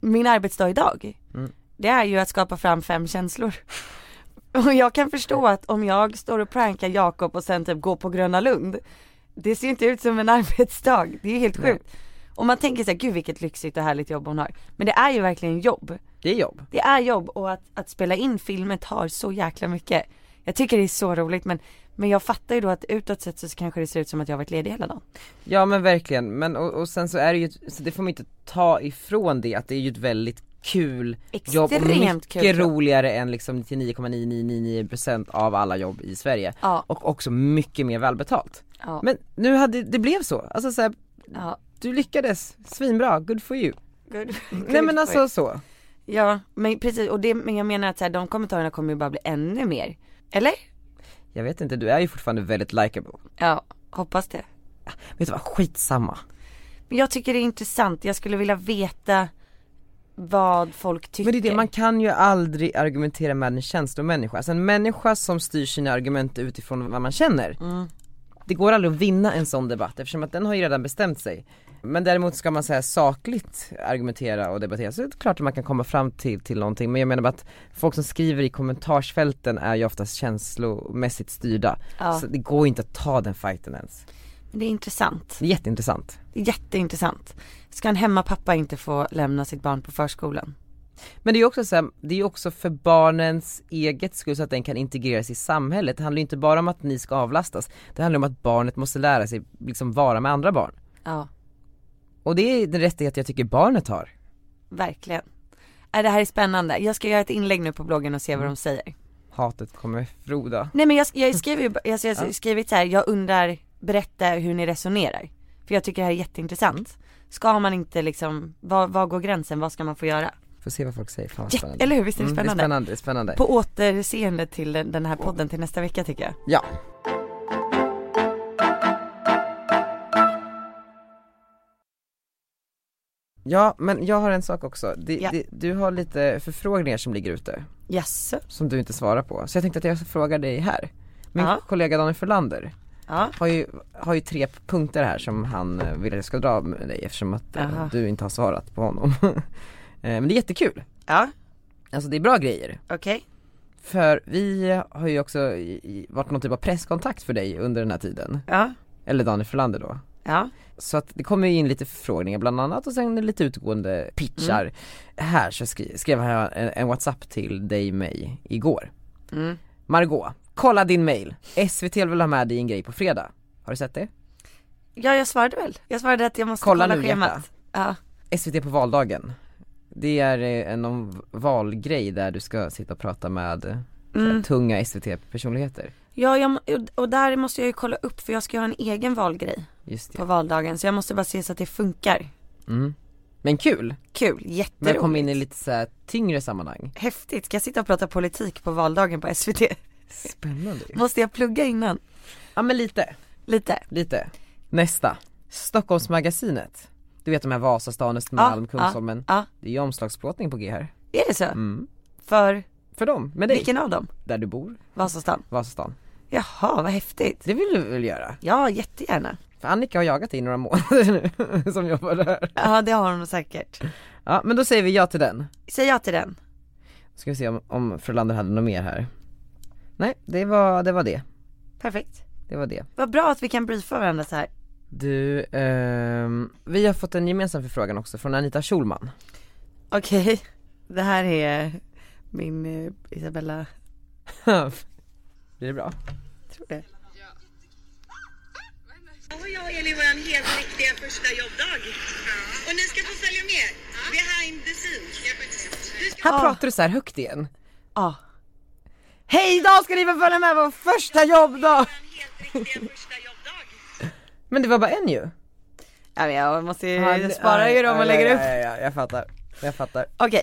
S2: min arbetsdag idag, det är ju att skapa fram fem känslor. Och jag kan förstå att om jag står och prankar Jakob och sen typ går på Gröna Lund, det ser ju inte ut som en arbetsdag, det är ju helt
S1: Nej.
S2: sjukt. Och man tänker såhär, gud vilket lyxigt och härligt jobb hon har. Men det är ju verkligen jobb.
S1: Det är jobb.
S2: Det är jobb och att, att spela in filmen tar så jäkla mycket. Jag tycker det är så roligt men, men jag fattar ju då att utåt sett så kanske det ser ut som att jag har varit ledig hela dagen.
S1: Ja men verkligen, men och, och sen så är det ju, ett- så det får man inte ta ifrån det att det är ju ett väldigt kul jobb och
S2: Extremt
S1: mycket
S2: kul jobb.
S1: roligare än liksom 99,999% av alla jobb i Sverige.
S2: Ja,
S1: Och också mycket mer välbetalt.
S2: ja,
S1: Men nu hade, det blev så, alltså så här,
S2: ja.
S1: du lyckades, svinbra, good for you.
S2: Good,
S1: Nej men alltså så.
S2: Ja, men precis och det, men jag menar att så här, de kommentarerna kommer ju bara bli ännu mer. Eller?
S1: Jag vet inte, du är ju fortfarande väldigt likable.
S2: Ja, hoppas det.
S1: Vet du vad, skitsamma.
S2: Men jag tycker det är intressant, jag skulle vilja veta vad folk tycker.
S1: Men det är det, man kan ju aldrig argumentera med en känslomänniska. Alltså en människa som styr sina argument utifrån vad man känner. Det går aldrig att vinna en sån debatt eftersom att den har ju redan bestämt sig. Men däremot ska man säga sakligt argumentera och debattera så är det klart att man kan komma fram till, till någonting. Men jag menar bara att folk som skriver i kommentarsfälten är ju oftast känslomässigt styrda.
S2: Ja.
S1: Så det går inte att ta den fighten ens.
S2: Det är intressant.
S1: Det är jätteintressant.
S2: Jätteintressant. Ska en hemmapappa inte få lämna sitt barn på förskolan?
S1: Men det är ju också så här, det är ju också för barnens eget skull så att den kan integreras i samhället. Det handlar ju inte bara om att ni ska avlastas. Det handlar om att barnet måste lära sig liksom vara med andra barn.
S2: Ja.
S1: Och det är den rättighet jag tycker barnet har.
S2: Verkligen. Äh, det här är spännande. Jag ska göra ett inlägg nu på bloggen och se vad de säger.
S1: Hatet kommer froda.
S2: Nej men jag, jag skriver ju, jag, jag har skrivit så här, jag undrar, berätta hur ni resonerar. För jag tycker det här är jätteintressant. Ska man inte liksom, vad, vad går gränsen, vad ska man få göra?
S1: Får se vad folk säger, fan vad
S2: Jätte-
S1: spännande.
S2: eller hur, visst är det
S1: Mm,
S2: spännande?
S1: det är spännande, det är spännande.
S2: På återseende till den, den här podden till nästa vecka tycker jag.
S1: Ja. Ja men jag har en sak också. Det,
S2: Ja.
S1: det, du har lite förfrågningar som ligger ute.
S2: Jaså?
S1: som du inte svarar på. Så jag tänkte att jag frågar dig här. Min
S2: Ja.
S1: kollega Daniel Frölander
S2: Ja.
S1: har ju, har ju tre punkter här som han eh, vill att jag ska dra med dig eftersom att eh,
S2: Jaha.
S1: du inte har svarat på honom. Eh, Men det är jättekul.
S2: Ja,
S1: Alltså det är bra grejer.
S2: okej.
S1: För vi har ju också i- i- varit någon typ av presskontakt för dig under den här tiden.
S2: Ja.
S1: Eller Daniel Frölander då.
S2: Ja.
S1: Så att det kommer ju in lite förfrågningar bland annat och sen lite utgående pitchar.
S2: Mm.
S1: Här så skri- skrev han en, en WhatsApp till dig, mig, igår.
S2: Mm.
S1: Margot, kolla din mail. SVT vill ha med dig i en grej på fredag. Har du sett det?
S2: Ja, jag svarade väl. Jag svarade att jag måste kolla,
S1: Kolla nu,
S2: schemat. Ja.
S1: SVT på valdagen. Det är eh, en någon valgrej där du ska sitta och prata med eh, så här tunga SVT-personligheter.
S2: Mm. Ja, jag, må- och där måste jag ju kolla upp för jag ska ju ha en egen valgrej
S1: Just det.
S2: på valdagen så jag måste bara se så att det funkar.
S1: Mm. Men kul,
S2: Kul,
S1: men
S2: jätteroligt.
S1: jag kom in i lite så här tyngre sammanhang
S2: Häftigt, ska jag sitta och prata politik på valdagen på SVT?
S1: Spännande ju.
S2: Måste jag plugga innan?
S1: Ja men lite,
S2: Lite.
S1: lite Nästa, Stockholmsmagasinet Du vet de här Vasastan, Östermalm,
S2: Ja,
S1: Kungsholmen
S2: ja.
S1: Det är ju omslagsplåtning på G här
S2: Är det så?
S1: mm.
S2: För
S1: För dem, med dig,
S2: vilken av dem?
S1: där du bor,
S2: Vasastan?
S1: Vasastan
S2: Jaha, vad häftigt.
S1: Det vill du väl göra?
S2: Ja, jättegärna.
S1: För Annika har jagat dig i några månader nu, som jobbar där
S2: Ja, det har hon säkert.
S1: Ja men då säger vi ja till den
S2: Säg ja till den.
S1: Ska vi se om, om Frölander hade något mer här Nej, det var, det var det,
S2: Perfekt.
S1: det var det
S2: Vad bra att vi kan briefa varandra så här.
S1: Du, ehm, vi har fått en gemensam förfrågan också från Anita Schulman
S2: Okej, det här är min eh, Isabella,
S1: Blir det bra?
S2: tror det.
S3: Och jag och Elin vår helt riktiga första jobbdag. Och ni ska få följa med behind the scenes. Du ska
S1: Här
S2: Ah.
S1: pratar du så här högt igen
S2: Ja.
S1: Hej idag ska ni få följa med vår första jobbdag!
S3: vår helt riktiga första jobbdag.
S1: Men det var bara en ju
S2: Ja, men jag måste ju, jag sparar ju dem och lägger upp.
S1: ja, ja, jag fattar, jag fattar
S2: Okej,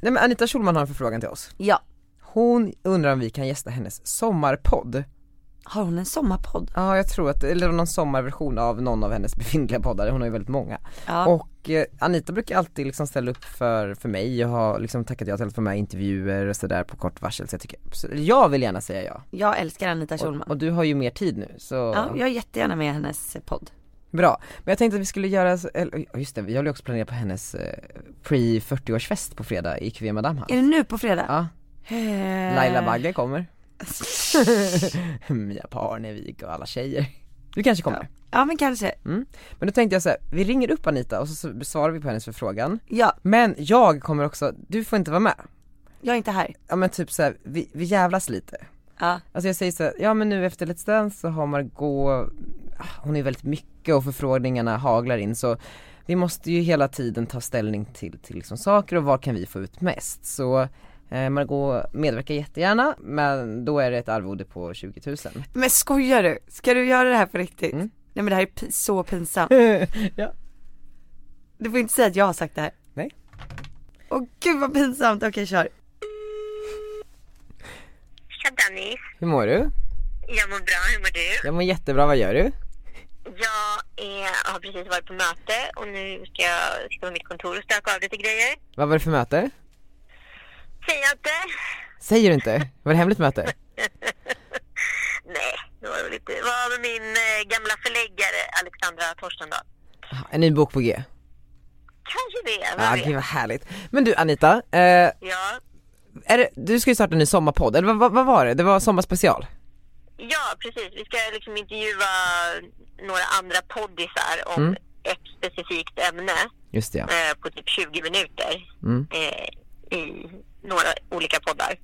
S1: Nej men Anita Schulman har en förfrågan till oss
S2: ja.
S1: Hon undrar om vi kan gästa hennes sommarpodd
S2: Har hon en sommarpodd?
S1: Ja jag tror att, eller någon sommarversion av någon av hennes befintliga poddar, hon har ju väldigt många
S2: Ja.
S1: Och eh, Anita brukar alltid liksom ställa upp för, för mig, jag har liksom tackat ja till att få med i intervjuer och sådär på kort varsel så jag tycker, så jag vill gärna säga ja
S2: Jag älskar Anita Schulman.
S1: och, och du har ju mer tid nu så
S2: Ja, jag är jättegärna med i hennes eh, podd.
S1: Bra, men jag tänkte att vi skulle göra, så- eller, ja, just det, vi håller ju också planerat på hennes eh, pre-40-årsfest på fredag i Cuvée Madame här.
S2: Är det nu på fredag?
S1: Ja,
S2: Eh,
S1: Laila Bagge kommer, Mia Parnevik och alla tjejer. Du kanske kommer.
S2: Ja men kanske.
S1: Men då tänkte jag så här, vi ringer upp Anita och så- så besvarar vi på hennes förfrågan.
S2: Ja,
S1: Men jag kommer också, du får inte vara med.
S2: jag är inte här.
S1: Ja men typ så här, vi, vi jävlas lite.
S2: Ja.
S1: Alltså jag säger så här, ja men nu efter Let's Dance så har Margot, ah, hon är väldigt mycket och förfrågningarna haglar in så vi måste ju hela tiden ta ställning till, till liksom saker och vad kan vi få ut mest. Så eh, Margot medverkar jättegärna men då är det ett arvode på 20 000.
S2: Men skojar du? Ska du göra det här på riktigt?
S1: Mm.
S2: Nej men det här är pi- så pinsamt.
S1: ja.
S2: Du får inte säga att jag har sagt det här.
S1: Nej.
S2: Åh gud vad pinsamt, okej kör.
S3: Tja Danny.
S1: Hur mår du?
S3: Jag mår bra, hur mår du?
S1: Jag mår jättebra, vad gör du?
S3: Jag är, har precis varit på möte och nu ska jag sitta på mitt kontor och stöka av lite grejer.
S1: Vad var det för möte?
S3: Säger jag inte?
S1: Säger du inte? Var det hemligt möte?
S3: Nej, det var väl inte. Det var med min eh, gamla förläggare Alexandra Torstendal.
S1: Aha, En ny bok på G.
S3: Kanske det,
S1: Ja,
S3: vad
S1: ah, gud
S3: vet
S1: vad härligt. Men du Anita, eh,
S3: jag?
S1: är det, du ska ju starta en ny sommarpodd, eller vad, vad, vad var det? Det var sommarspecial?
S3: Ja, precis. Vi ska liksom intervjua några andra poddisar om
S1: Mm.
S3: ett specifikt ämne
S1: Just det ja.
S3: eh, på typ 20 minuter
S1: Mm.
S3: eh, i några olika poddar.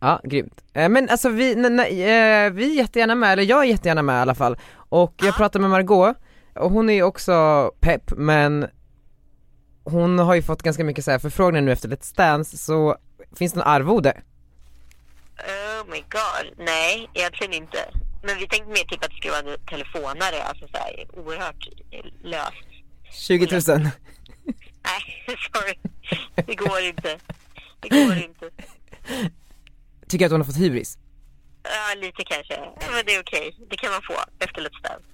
S1: Ja, grymt. Eh, Men alltså vi, nej, nej, eh, vi är jättegärna med, eller jag är jättegärna med i alla fall. Och jag pratade med Margot och hon är ju också pepp men hon har ju fått ganska mycket så här förfrågningar nu efter Let's Dance så finns det en arvode?
S3: Oh my god. Nej, egentligen inte. Men vi tänkte mer typ att det skulle vara en telefonare, alltså så här oerhört löst.
S1: 20 000.
S3: Nej, sorry. Det går inte. Det går inte.
S1: Tycker att hon har fått hybris?
S3: Ja, lite kanske. Men det är okej. Det kan man få efter Let's Dance.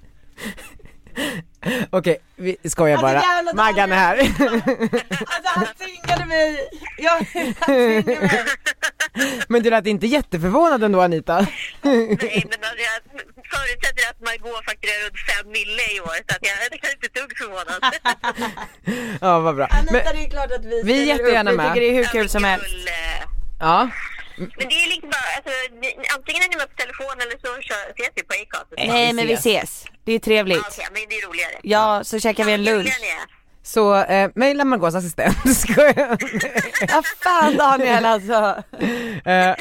S1: Okej, vi skojar bara.
S2: Alltså, jävla Daniel!
S1: Maggan är här.
S2: Alltså han tvingade mig! Jag, han tvingade mig.
S1: men du lät inte jätteförvånad ändå Anita.
S3: Nej, men alltså, jag förutsätter att Margot fakturerar runt fem mille i år, så att jag, jag kan inte ett dugg förvånas.
S1: ja vad bra. Men,
S2: det är klart att vi
S1: Vi är jättegärna
S2: Vi
S1: med.
S2: tycker det är hur kul som
S3: Men
S2: helst.
S3: kul, eh,
S1: ja.
S3: Men det är liksom bara, alltså, ni- antingen är ni med på telefon eller så kör, ses vi på Acast.
S2: Nej men vi
S1: ses.
S2: ses, det är
S3: Ah,
S2: trevligt.
S3: Okej, men det är roligare.
S2: Ja, så käkar vi en lunch.
S1: Så eh, mejla Margots assistent, skojar.
S2: Ja fan Daniel alltså.
S1: Eh,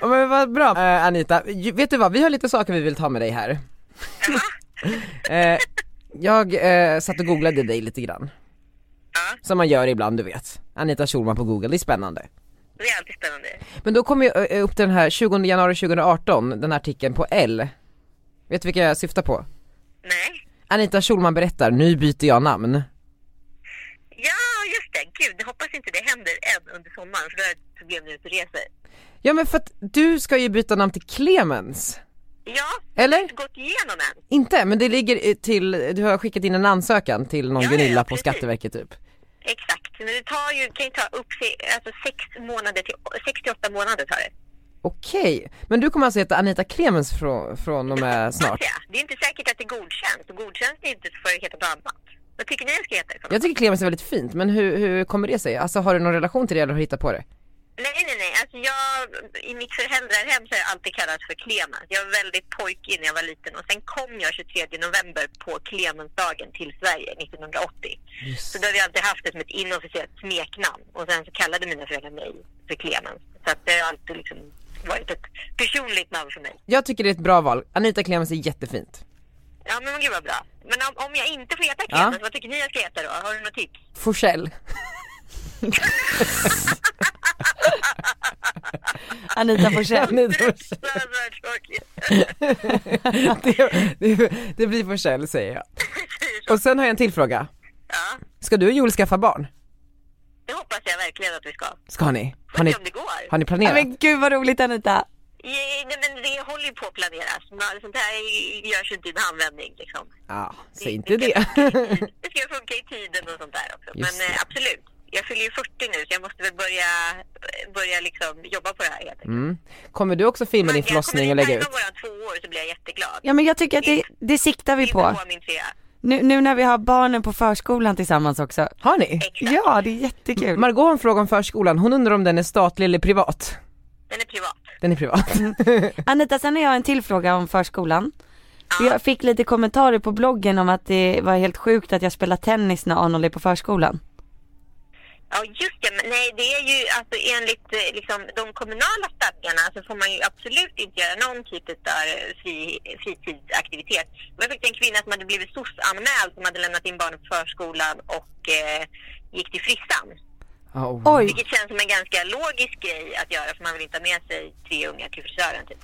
S1: ja, men vad bra eh, Anita, Ju- vet du vad, vi har lite saker vi vill ta med dig här. eh, jag eh, satt och googlade dig lite grann.
S3: Ja.
S1: Som man gör ibland du vet. Anita Schulman på google, det är spännande.
S3: Det är alltid spännande.
S1: Men då kom ju eh, upp den här 20 januari 2018, den här artikeln på L. Vet du vilka jag syftar på?
S3: Nej.
S1: Anita Schulman berättar, nu byter jag namn.
S3: under sommaren för då har jag ett problem när du reser.
S1: Ja men för att du ska ju byta namn till Clemens.
S3: Ja,
S1: Eller?
S3: inte gått igenom än.
S1: Inte, men det ligger eh, till, du har skickat in en ansökan till någon
S3: Ja, ja,
S1: Gunilla på
S3: precis.
S1: Skatteverket typ.
S3: Exakt, men det tar ju, kan ju ta upp sig, alltså sex månader till, sex till åtta månader tar det.
S1: Okej, men du kommer alltså heta Anita Clemens från, från och med Eh, snart?
S3: Alltså, ja, Det är inte säkert att det godkänns och godkänns det inte så får det heta något annat. Vad tycker ni jag ska heta? i så fall?
S1: Jag tycker Clemens är väldigt fint, men hur, hur kommer det sig? Alltså har du någon relation till det eller har du hittat på det?
S3: Nej, nej, nej. Alltså jag, I mitt föräldrahem så har jag alltid kallats för Clemens. Jag var väldigt pojkig när jag var liten och sen kom jag 23 november på Clemensdagen till Sverige 1980. Så då har vi alltid haft det som ett inofficiellt smeknamn och sen så kallade mina föräldrar mig för Clemens. Så att det har alltid liksom varit ett personligt namn för mig.
S1: Jag tycker det är ett bra val, Anita Clemens är jättefint.
S3: Ja, men gud vad bra. Men om, om jag inte får heta Clemens, vad tycker ni jag ska heta då? Har du något tips?
S1: Forsell.
S2: Anita Forsell.
S1: Anita Forsell.
S3: Så hade det varit tråkigt.
S1: det, det, det blir Forsell säger jag. Och sen har jag en till fråga.
S3: Ja,
S1: Ska du och Joel skaffa barn?
S3: det hoppas jag verkligen att vi ska.
S1: Ska ni? Har
S3: Får
S1: ni,
S3: se om det går.
S1: har ni
S2: Ja,
S1: planerat?
S2: men gud vad roligt Anita.
S3: Ja, Nej, men det håller ju på att planeras. Man- Sånt här görs ju inte i en handvändning. Liksom.
S1: Ja,
S3: Det-
S1: säg inte det.
S3: ska funka i tid- Det ska funka i tiden och sånt där också.
S1: Mm. Just
S3: men eh,
S1: det.
S3: absolut. Jag fyller ju 40 nu så jag måste väl börja, börja liksom jobba på det här helt enkelt.
S1: Mm. Kommer du också filma din
S3: Men jag-
S1: förlossning och lägga ut?
S3: Kommer ni tajma våran två år så blir jag jätteglad.
S2: Ja men jag tycker att det, det siktar vi
S3: Det är
S2: på.
S3: på min trea.
S2: Nu, nu när vi har barnen på förskolan tillsammans också.
S1: Har ni?
S3: Exakt.
S2: Ja det är jättekul.
S1: Margot har en fråga om förskolan, hon undrar om den är statlig eller privat?
S3: Den är privat.
S1: Den är privat.
S2: Anita, sen har jag en till fråga om förskolan. För Jag fick lite kommentarer på bloggen om att det var helt sjukt att jag spelar tennis när Arnold är på förskolan.
S3: Ja, just det. Men nej, det är ju alltså enligt eh, liksom, de kommunala stadgarna så får man ju absolut inte göra någon typ av eh, fri, fritidsaktivitet. Det var faktiskt en kvinna som hade blivit SOS-anmäld som hade lämnat in barnet på förskolan och eh, gick till frissan.
S1: Oh.
S2: Oj.
S3: Vilket känns som en ganska logisk grej att göra för man vill inte ha med sig tre ungar till frisören typ.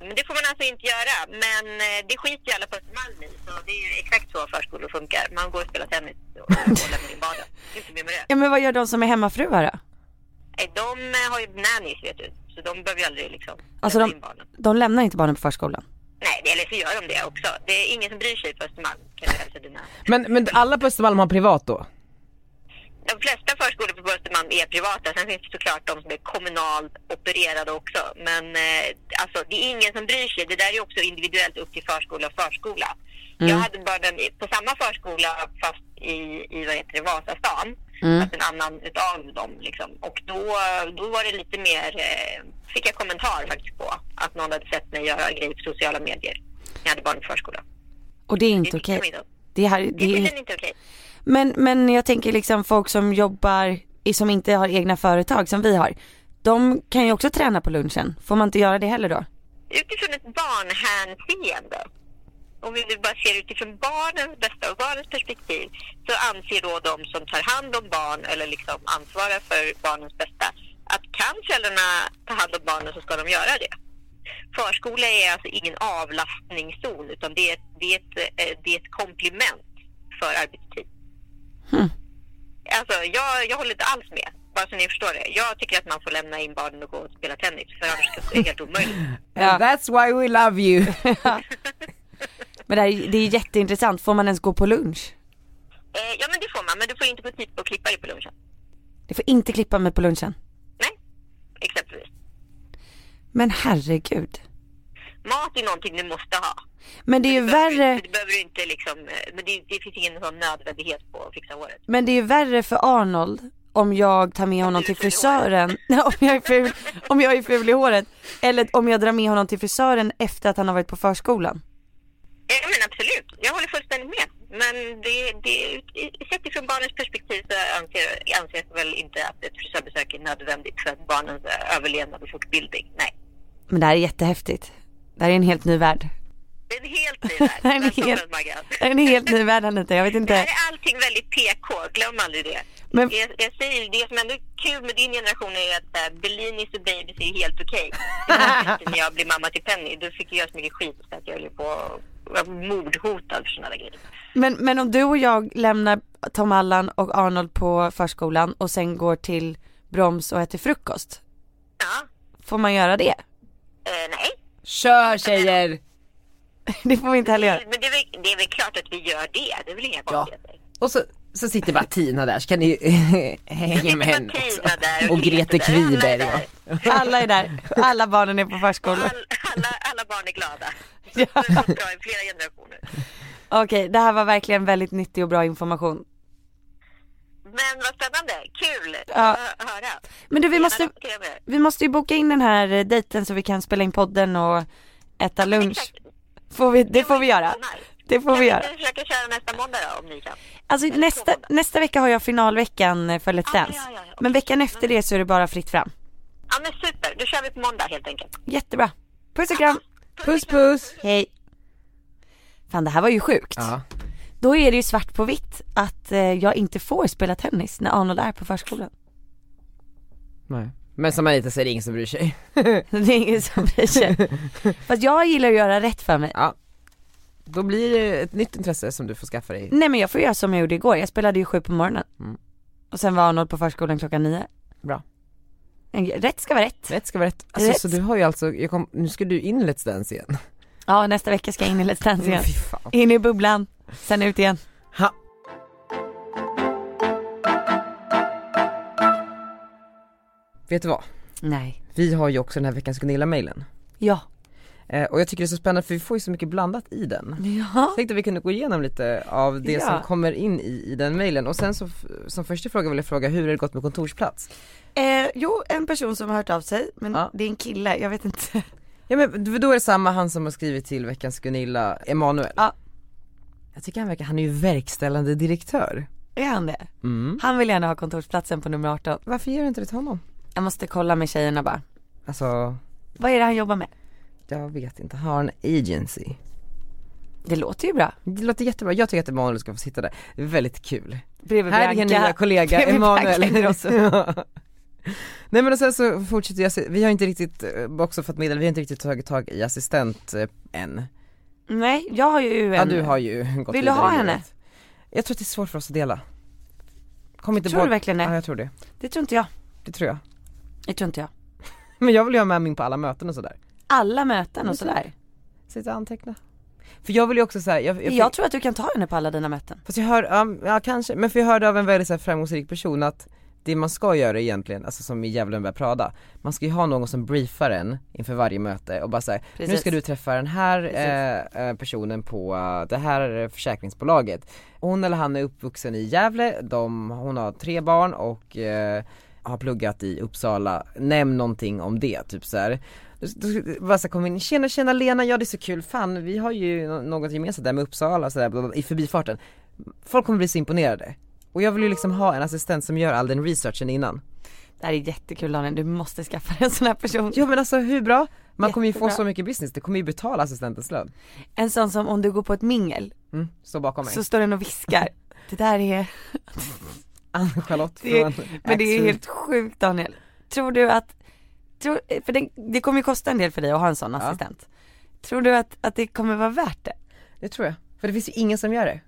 S3: Men det får man alltså inte göra. Men eh, det skiter ju alla på Östermalm i. Så det är ju exakt så förskolor funkar. Man går och spelar tennis och, och lämnar in barnen. Det är Inte mer med det.
S2: Ja men vad gör de som är hemmafruar då?
S3: Nej, de eh, har ju nannies vet du. Så de behöver ju aldrig liksom
S2: Alltså
S3: lämna
S2: de,
S3: in barnen.
S2: de lämnar inte barnen på förskolan.
S3: Nej, det- eller så gör de det också. Det är ingen som bryr sig på Östermalm kan jag hälsa dina.
S1: Men, men alla på Östermalm har privat då?
S3: De flesta förskolor på Östermalm är privata. Sen finns det såklart de som är kommunalt opererade också. Men eh, alltså, det är ingen som bryr sig. Det där är ju också individuellt upp till förskola och förskola. Jag hade barnen i- på samma förskola fast i, i vad heter det, Vasastan. Fast en annan utav dem liksom. Och då, då var det lite mer, eh, fick jag kommentar faktiskt på att någon hade sett mig göra grejer på sociala medier. när Jag hade barn i förskola.
S2: Och det är inte
S3: Det tycker
S2: okej.
S3: man inte om.
S2: Det här,
S3: Det är
S2: det är,
S3: tydligen inte okej.
S2: men, men jag tänker liksom folk som jobbar, i- som inte har egna företag som vi har. De kan ju också träna på lunchen. Får man inte göra det heller då?
S3: utifrån ett barnhänseende, om vi nu bara ser utifrån barnens bästa och barnens perspektiv, så anser då de som tar hand om barn eller liksom ansvarar för barnens bästa att kan föräldrarna ta hand om barnen så ska de göra det. Förskola är alltså ingen avlastningszon utan det är, det är, ett, eh, det är ett komplement för arbetstid. Alltså, jag, jag håller inte alls med. Bara så ni förstår det. Jag tycker att man får lämna in barnen och gå och spela tennis för annars är det helt omöjligt.
S1: And that's why we love you.
S2: Men det, här, är- det är jätteintressant. Får man ens gå på lunch?
S3: Eh, ja, men det får man. Men du får ju inte gå dit och klippa dig på lunchen.
S2: Det får inte klippa mig på lunchen.
S3: Nej, exempelvis.
S2: Men herregud.
S3: Mat är någonting du måste ha.
S2: Men det är ju
S3: Du behöver-
S2: värre,
S3: Du behöver inte liksom... eh, Men det, det finns ingen sån nödvändighet på att fixa håret.
S2: men det är ju värre för Arnold om jag tar med honom till frisören, Nej, om jag, är ful, om jag är ful i håret, eller om jag drar med honom till frisören efter att han har varit på förskolan.
S3: Ja, Eh, men absolut. Jag håller fullständigt med. Men det, det, sett ifrån barnens perspektiv så anser, anses väl inte att ett frisörbesök är nödvändigt för barnens eh, överlevnad och fortbildning. Nej.
S2: Men det här är jättehäftigt. Det här är en helt ny värld.
S3: Det är en helt ny värld.
S2: Det är en
S3: Välkommen,
S2: helt-
S3: Maggan.
S2: Det här är en helt ny värld Anita, jag vet
S3: Det här
S2: inte.
S3: är allting väldigt PK, glöm aldrig det.
S2: Eh. Men-
S3: Jag, jag säger ju, det som ändå är kul med din generation är ju att äh, Bellinis och Babys är helt okej. Det var inte när jag blev mamma till Penny, då fick jag så mycket skit så att jag höll ju på att vara mordhotad för sådana där grejer.
S2: Men, men om du och jag lämnar Tom Allan och Arnold på förskolan och sen går till broms och äter frukost.
S3: Ja.
S2: Får man göra det?
S3: Eh, nej.
S1: Kör tjejer!
S2: Det får vi inte heller göra.
S3: Men det är, väl, det är väl klart att vi gör det. Det är väl inga konstigheter.
S1: Och så, så sitter bara Tina där så kan ni ju hänga med henne också.
S3: Tina där
S1: Och Grete
S3: Greta där. Alla är
S1: Kviberg
S3: där.
S1: och...
S2: Alla är där, alla barnen är på förskolan.
S3: All, alla, alla barn är glada.
S2: Ja.
S3: Det har gått bra i flera generationer.
S2: Okej, det här var verkligen väldigt nyttig och bra information.
S3: Men vad spännande. Kul
S2: Ja.
S3: att hö- höra.
S2: Men du vi
S3: Gärna
S2: måste,
S3: rapportera mer.
S2: vi måste ju boka in den här eh, dejten så vi kan spela in podden och äta lunch.
S3: Exakt.
S2: Får vi, det får vi göra. Det får vi göra.
S3: Kan vi försöka köra nästa måndag då om ni kan?
S2: Alltså nästa,
S3: måndag.
S2: nästa vecka har jag finalveckan eh, för Let's
S3: Ja,
S2: Dance.
S3: ja, ja, ja.
S2: Men veckan efter det så är det bara fritt fram.
S3: Ja men super, då kör vi på måndag helt enkelt.
S2: Jättebra. Puss och kram.
S1: Puss puss!
S2: Hej. Fan det här var ju sjukt.
S1: Ja.
S2: Då är det ju svart på vitt att eh, jag inte får spela tennis när Arnold är på förskolan.
S1: Nej. Men som Anita säger, det är ingen som bryr sig.
S2: Det är ingen som bryr sig. Fast jag gillar att göra rätt för mig.
S1: Ja. Då blir det ett nytt intresse som du får skaffa dig.
S2: Nej men jag får göra som jag gjorde igår, jag spelade ju sju på morgonen.
S1: Mm.
S2: Och sen var Arnold på förskolan klockan nio.
S1: Bra.
S2: Rätt ska vara rätt.
S1: Rätt ska vara rätt. Alltså
S2: Rätt.
S1: så du har ju alltså, jag kom, nu ska du in i Let's Dance igen.
S2: Ja nästa vecka ska jag in i Let's Dance igen.
S1: Fy fan.
S2: In i bubblan, sen ut igen.
S1: Ha. Vet du vad?
S2: Nej.
S1: Vi har ju också den här veckans Gunilla-mailen.
S2: Ja.
S1: Eh, och jag tycker det är så spännande för vi får ju så mycket blandat i den.
S2: Ja.
S1: tänkte vi kunde gå igenom lite av det
S2: Ja.
S1: som kommer in i, i den mailen och sen så f- som första fråga vill jag fråga hur har det gått med kontorsplats?
S2: Eh, jo en person som har hört av sig, men
S1: Ja.
S2: det är en kille, jag vet inte.
S1: Ja men d- då är det samma han som har skrivit till veckans Gunilla, Emanuel.
S2: Ja.
S1: Jag tycker han verkar, han är ju verkställande direktör.
S2: Är han det?
S1: Mm.
S2: Han vill gärna ha kontorsplatsen på nummer 18.
S1: Varför ger du inte det till honom?
S2: Jag måste kolla med tjejerna bara.
S1: Alltså,
S2: Vad är det han jobbar med?
S1: jag vet inte, han har en agency.
S2: Det låter ju bra.
S1: Det låter jättebra, jag tycker att Emanuel ska få sitta där. Det är väldigt kul.
S2: Bredvid
S1: Här är din
S2: Bianca.
S1: nya kollega
S2: Bredvid Bianca
S1: Emanuel.
S2: Ingrosso.
S1: Ja. Nej men och sen så fortsätter jag, se- vi har inte riktigt, eh, också fått medel, vi har inte riktigt tagit tag i assistent eh, än.
S2: Nej, jag har ju en.
S1: Ja du har ju gått
S2: Vill du
S1: vidare
S2: ha
S1: i
S2: henne?
S1: livet. Jag tror att det är svårt för oss att dela. Kom inte
S2: Tror du
S1: båda-
S2: verkligen det?
S1: Ja jag tror det,
S2: Det tror inte jag.
S1: det tror jag.
S2: Det tror inte jag.
S1: Men jag vill ju ha med min på alla möten och sådär.
S2: Alla möten och
S1: Men
S2: sådär.
S1: Sitta och anteckna. För jag vill ju också såhär, jag, jag,
S2: Jag tror att du kan ta henne på alla dina möten.
S1: fast jag hör, ja, ja kanske, men för jag hörde av en väldigt så här, framgångsrik person att det man ska göra egentligen, alltså som i Djävulen bär Prada, man ska ju ha någon som briefar en inför varje möte och bara säger nu
S2: Precis.
S1: ska du träffa den här
S2: Precis.
S1: eh, eh, personen på eh, det här eh, försäkringsbolaget. Hon eller han är uppvuxen i Gävle, de, hon har tre barn och eh, har pluggat i Uppsala, nämn någonting om det, typ så här. Då- då- Bara så kom in, tjena tjena Lena, ja det är så kul, fan vi har ju nå- något gemensamt där med Uppsala så där, bla, bla, bla, i förbifarten. Folk kommer bli så imponerade. Och jag vill ju liksom ha en assistent som gör all den researchen innan.
S2: Det här är jättekul Daniel, du måste skaffa dig en sån här person.
S1: Ja men alltså hur bra? Man kommer ju få
S2: Jättebra.
S1: så mycket business, det kommer ju betala assistentens lön.
S2: En sån som om du går på ett mingel
S1: Mm, står bakom mig.
S2: så står den och viskar. Det där är,
S1: Ann-Charlotte
S2: Det-
S1: från
S2: men det är
S1: Axfood.
S2: helt sjukt Daniel. Tror du att, tror, för det, det kommer ju kosta en del för dig att ha en sån assistent. Tror du att, att det kommer vara värt det?
S1: Det tror jag. För det finns ju ingen som gör det.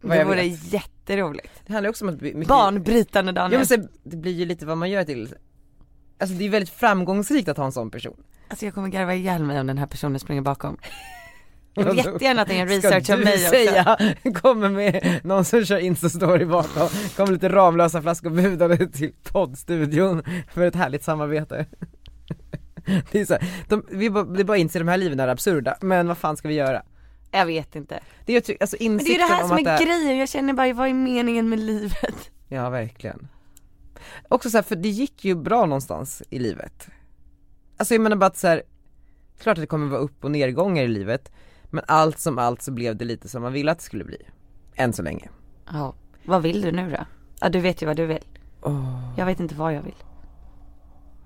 S1: Vad
S2: Det
S1: jag
S2: vore
S1: vet.
S2: jätteroligt.
S1: Det handlar ju också om att bli mycket...
S2: Barnbrytande
S1: Ja,
S2: Daniel.
S1: men så, det blir ju lite vad man gör till. Alltså det är ju väldigt framgångsrikt att ha en sån person.
S2: Alltså jag kommer garva ihjäl mig om den här personen springer bakom. Jag vill jättegärna att den gör research
S1: Ska
S2: om
S1: du
S2: mig också.
S1: säga, kommer med någon som kör Insta-story bakom, kommer lite Ramlösa flaskor budade till poddstudion för ett härligt samarbete. Det är så här, de, vi bara, det är bara att inse de här liven är absurda, men vad fan ska vi göra?
S2: Jag vet inte.
S1: Det är ju ty- alltså
S2: Men det är ju
S1: insikten
S2: det här
S1: om
S2: som
S1: att det
S2: är
S1: här-
S2: grejen, jag känner bara vad är meningen med livet?
S1: Ja verkligen. Också så här, för det gick ju bra någonstans i livet. Alltså jag menar bara att så här, klart att det kommer vara upp och nedgångar i livet, men allt som allt så blev det lite som man ville att det skulle bli. Än så länge.
S2: Ja, vad vill du nu då? Ja du vet ju vad du vill.
S1: Åh,
S2: Jag vet inte vad jag vill.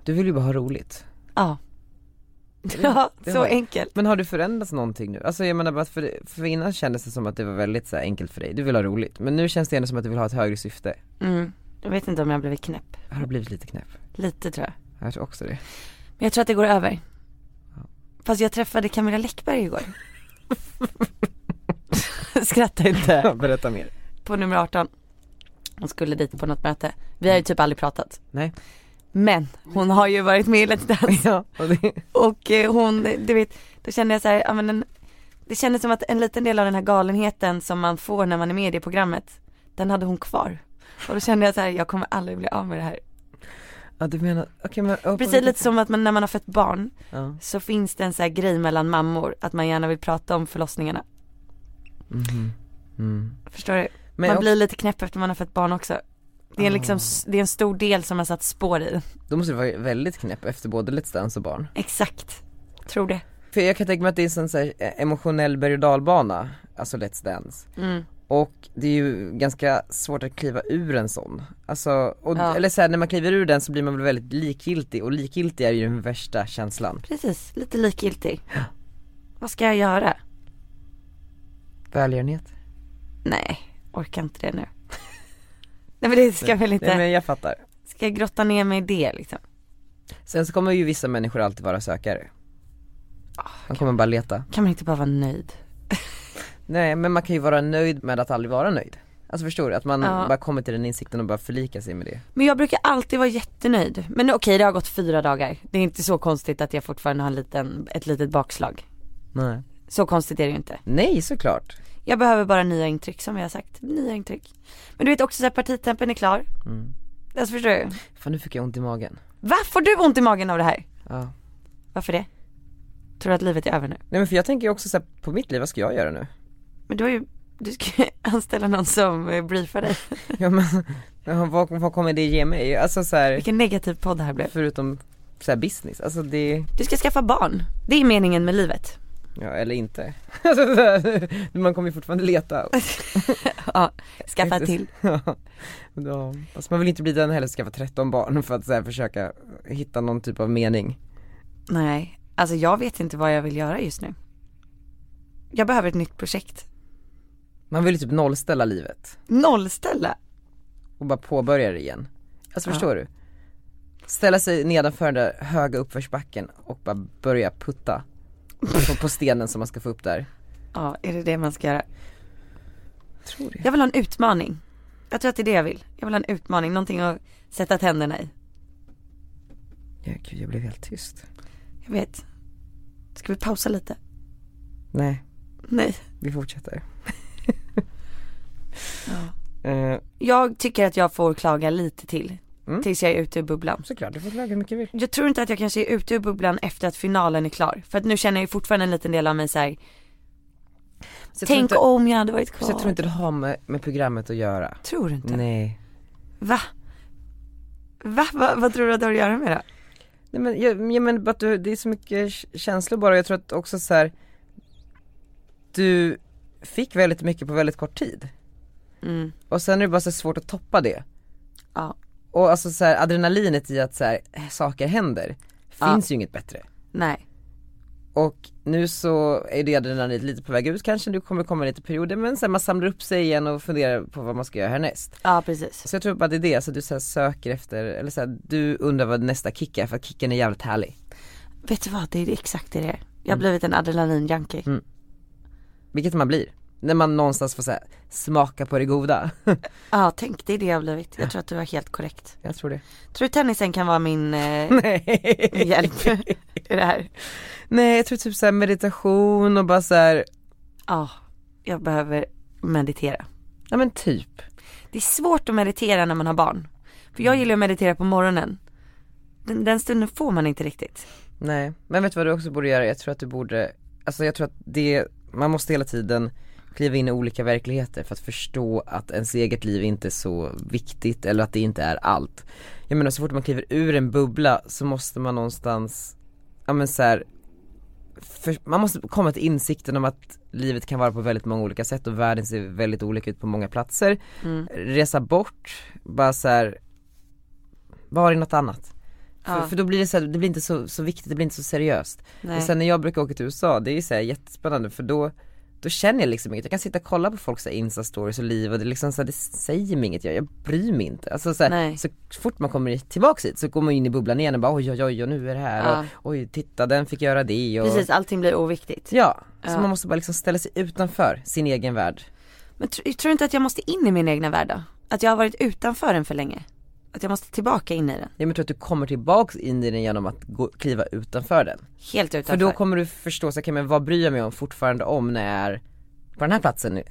S1: Du vill ju bara ha roligt.
S2: Ja. Ja,
S1: det
S2: så
S1: har jag.
S2: enkelt.
S1: Men har du förändrats någonting nu? Alltså jag menar bara att för, för innan kändes det som att det var väldigt så här enkelt för dig, du vill ha roligt. Men nu känns det ändå som att du vill ha ett högre syfte.
S2: Mm. Jag vet inte om jag har blivit knäpp.
S1: Har du blivit lite knäpp?
S2: Lite tror jag.
S1: Jag tror också det.
S2: Men jag tror att det går över. Fast jag träffade Camilla Läckberg igår. Skratta inte.
S1: Berätta mer.
S2: På nummer 18. Hon skulle dit på något möte. Vi har ju typ aldrig pratat.
S1: Nej.
S2: Men hon har ju varit med i Let's Dance
S1: Ja, och det,
S2: och eh, hon, du vet, då kände jag så här, ja men den, det kändes som att en liten del av den här galenheten som man får när man är med i det programmet, den hade hon kvar. Och då kände jag så här, jag kommer aldrig bli av med det här.
S1: ja du menar, okej men ja,
S2: Precis lite som att man, när man har fött barn
S1: ja.
S2: så finns det en så här grej mellan mammor att man gärna vill prata om förlossningarna.
S1: Mhm. Mm.
S2: Förstår du?
S1: Men
S2: man
S1: också,
S2: blir lite knäpp efter man har fött barn också. Det är, en liksom, s- det är en stor del som har satt spår i.
S1: då måste du vara väldigt knäpp efter både Let's Dance och barn
S2: Exakt. Tror det.
S1: För jag kan tänka mig att det är en sån så här eh, emotionell berg och dalbana, alltså Let's Dance
S2: Mm.
S1: Och det är ju ganska svårt att kliva ur en sån. Alltså, och,
S2: Ja.
S1: eller så här, när man kliver ur den så blir man väl väldigt likgiltig och likgiltig är ju den värsta känslan.
S2: Precis, lite likgiltig. Vad ska jag göra?
S1: Välgörenhet.
S2: Nej, orkar inte det nu. Nej men det ska väl
S1: Nej
S2: inte,
S1: men jag fattar.
S2: ska jag grotta ner mig i det liksom?
S1: Sen så kommer ju vissa människor alltid vara sökare.
S2: Ah,
S1: Man kommer bara leta.
S2: Kan man inte bara vara nöjd?
S1: Nej men man kan ju vara nöjd med att aldrig vara nöjd. Alltså förstår du? Att man
S2: Ja.
S1: bara kommer till den insikten och bara förlika sig med det.
S2: Men jag brukar alltid vara jättenöjd. Men okej det har gått fyra dagar. Det är inte så konstigt att jag fortfarande har en liten, ett litet bakslag.
S1: Nej.
S2: Så konstigt är det ju inte.
S1: Nej såklart.
S2: Jag behöver bara nya intryck som jag har sagt. Nya intryck. Men du vet också såhär partitempen är klar.
S1: Mm.
S2: Alltså förstår du?
S1: Fan nu fick jag ont i magen.
S2: Va? Får du ont i magen av det här?
S1: Ja.
S2: Varför det? Tror du att livet är över nu?
S1: Nej men för jag tänker ju också så här, på mitt liv, vad ska jag göra nu?
S2: Men du har ju, du ska ju anställa någon som eh, briefar dig.
S1: Ja men, ja, vad, vad kommer det ge mig? Alltså så här,
S2: Vilken negativ podd det här blev.
S1: förutom så här business, alltså det,
S2: Du ska skaffa barn. Det är meningen med livet.
S1: ja eller inte. Alltså, så här, man kommer ju fortfarande leta.
S2: Ja, skaffa till.
S1: Ja. Då- Alltså, man vill inte bli den heller som skaffar 13 barn för att så här, försöka hitta någon typ av mening.
S2: Nej, alltså jag vet inte vad jag vill göra just nu. Jag behöver ett nytt projekt.
S1: Man vill ju typ nollställa livet
S2: Nollställa.
S1: och bara påbörja det igen. Alltså förstår du? Ställa sig nedanför den där höga uppförsbacken och bara börja putta på, på stenen som man ska få upp där.
S2: Ja, är det det man ska göra?
S1: Tror det.
S2: Jag vill ha en utmaning. Jag tror att det är det jag vill. Jag vill ha en utmaning, någonting att sätta tänderna i.
S1: Ja, gud, jag blev helt tyst.
S2: Jag vet. Ska vi pausa lite?
S1: Nej,
S2: Nej.
S1: vi fortsätter.
S2: Ja.
S1: Eh,
S2: Jag tycker att jag får klaga lite till.
S1: Mm.
S2: Tills jag är ute ur bubblan.
S1: såklart, du får klaga hur mycket du vill.
S2: Jag tror inte att jag kanske är ute ur bubblan efter att finalen är klar. För att nu känner jag ju fortfarande en liten del av mig så här.
S1: Så jag
S2: tänk
S1: tror inte,
S2: om jag hade varit kvar.
S1: så jag tror inte det har med, med programmet att göra.
S2: Tror du inte?
S1: Nej.
S2: Va? Va? Va? Vad tror du att det har att göra med det?
S1: Nej men, jag, jag menar bara att du, det är så mycket k- känslor bara jag tror att också så här. Du fick väldigt mycket på väldigt kort tid.
S2: Mm.
S1: Och sen är det bara så svårt att toppa det.
S2: Ja.
S1: Och alltså så här, adrenalinet i att så här, eh, saker händer,
S2: Ja.
S1: finns ju inget bättre.
S2: Nej.
S1: Och nu så är det adrenalinet lite på väg ut kanske, nu kommer det komma lite perioder men sen man samlar upp sig igen och funderar på vad man ska göra härnäst.
S2: Ja precis.
S1: Så jag tror bara det är det, alltså du så här söker efter, eller så här, du undrar vad nästa kick är för att kicken är jävligt härlig.
S2: Vet du vad? Det är exakt det det är. Jag har blivit en adrenalin-junkie.
S1: Mm. Vilket man blir. När man någonstans får så här, smaka på det goda.
S2: Ja tänk det är det jag har blivit. Jag tror att du har helt korrekt.
S1: jag tror det.
S2: Tror du tennisen kan vara min eh,
S1: Nej.
S2: hjälp i det här?
S1: Nej jag tror typ så här meditation och bara så här,
S2: Ja, jag behöver meditera.
S1: ja men typ.
S2: Det är svårt att meditera när man har barn. För
S1: Mm.
S2: jag gillar att meditera på morgonen. Den, den stunden får man inte riktigt.
S1: Nej. Men vet du vad du också borde göra? Jag tror att du borde, alltså jag tror att det, man måste hela tiden kliva in i olika verkligheter för att förstå att ens eget liv inte är så viktigt eller att det inte är allt. Jag menar så fort man kliver ur en bubbla så måste man någonstans, ja men så här, för, man måste komma till insikten om att livet kan vara på väldigt många olika sätt och världen ser väldigt olika ut på många platser. Resa bort, bara så här var i något annat.
S2: Ja.
S1: För, för då blir det så här, det blir inte så, så viktigt, det blir inte så seriöst.
S2: Nej.
S1: Och sen när jag brukar åka till USA, det är ju så här jättespännande för då då känner jag liksom inget, jag kan sitta och kolla på folks så här insta-stories och liv och det är liksom så här, det säger mig inget, jag, jag bryr mig inte. Alltså så, här,
S2: Nej.
S1: så fort man kommer tillbaks hit så går man in i bubblan igen och bara oj oj oj och nu är det här
S2: Ja.
S1: och oj titta den fick göra det och
S2: Precis, allting blir oviktigt.
S1: Ja, så
S2: Ja.
S1: man måste bara liksom ställa sig utanför sin egen värld.
S2: Men tr- tror du inte att jag måste in i min egna värld då? Att jag har varit utanför den för länge? Att Att jag måste tillbaka in i den.
S1: Ja men tror att du kommer tillbaks in i den genom att gå, kliva utanför den?
S2: Helt
S1: För
S2: utanför.
S1: då kommer du förstå, så, okay, men vad bryr jag mig om fortfarande om när jag är på den här platsen nu?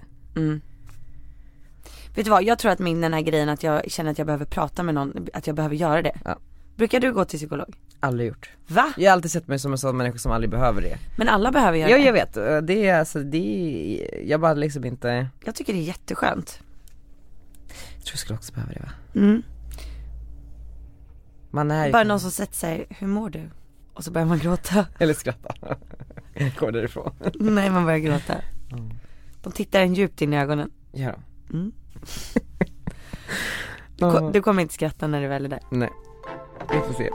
S2: Vet du vad, jag tror att min den här grejen att jag känner att jag behöver prata med någon, att jag behöver göra det.
S1: Ja.
S2: Brukar du gå till psykolog?
S1: Aldrig gjort.
S2: Va?
S1: Jag har alltid sett mig som en sån människa som aldrig behöver det.
S2: Men alla behöver göra
S1: Ja
S2: det.
S1: jag vet, Eh, det är alltså, det är, jag bara liksom inte, jag
S2: Jag tycker det är jätteskönt.
S1: tror jag skulle också behöva det va?
S2: Mm.
S1: Man är ju,
S2: Bara någon som sätter sig, hur mår du? Och så börjar man gråta.
S1: eller skratta. Går därifrån.
S2: Nej man börjar gråta. De tittar en djupt in i ögonen.
S1: Gör de.
S2: Mm.
S1: Ja.
S2: Ko- Du kommer inte skratta när du väl är där.
S1: Nej, vi får se.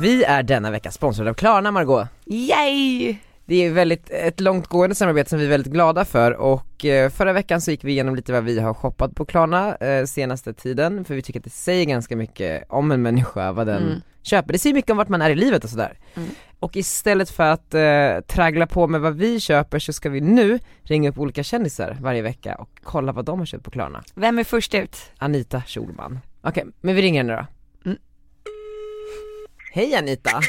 S1: Vi är denna vecka sponsrade av Klarna Margot.
S2: Yay!
S1: Det är väldigt, ett långtgående samarbete som vi är väldigt glada för och eh, förra veckan så gick vi igenom lite vad vi har shoppat på Klarna eh, senaste tiden för vi tycker att det säger ganska mycket om en människa vad den
S2: Mm.
S1: köper. Det säger mycket om vart man är i livet och sådär.
S2: Mm.
S1: Och istället för att eh, traggla på med vad vi köper så ska vi nu ringa upp olika kändisar varje vecka och kolla vad de har köpt på Klarna.
S2: Vem är först ut?
S1: Anita Schulman. Okej, men vi ringer henne då.
S2: Mm.
S1: Hej Anita!
S3: Mm.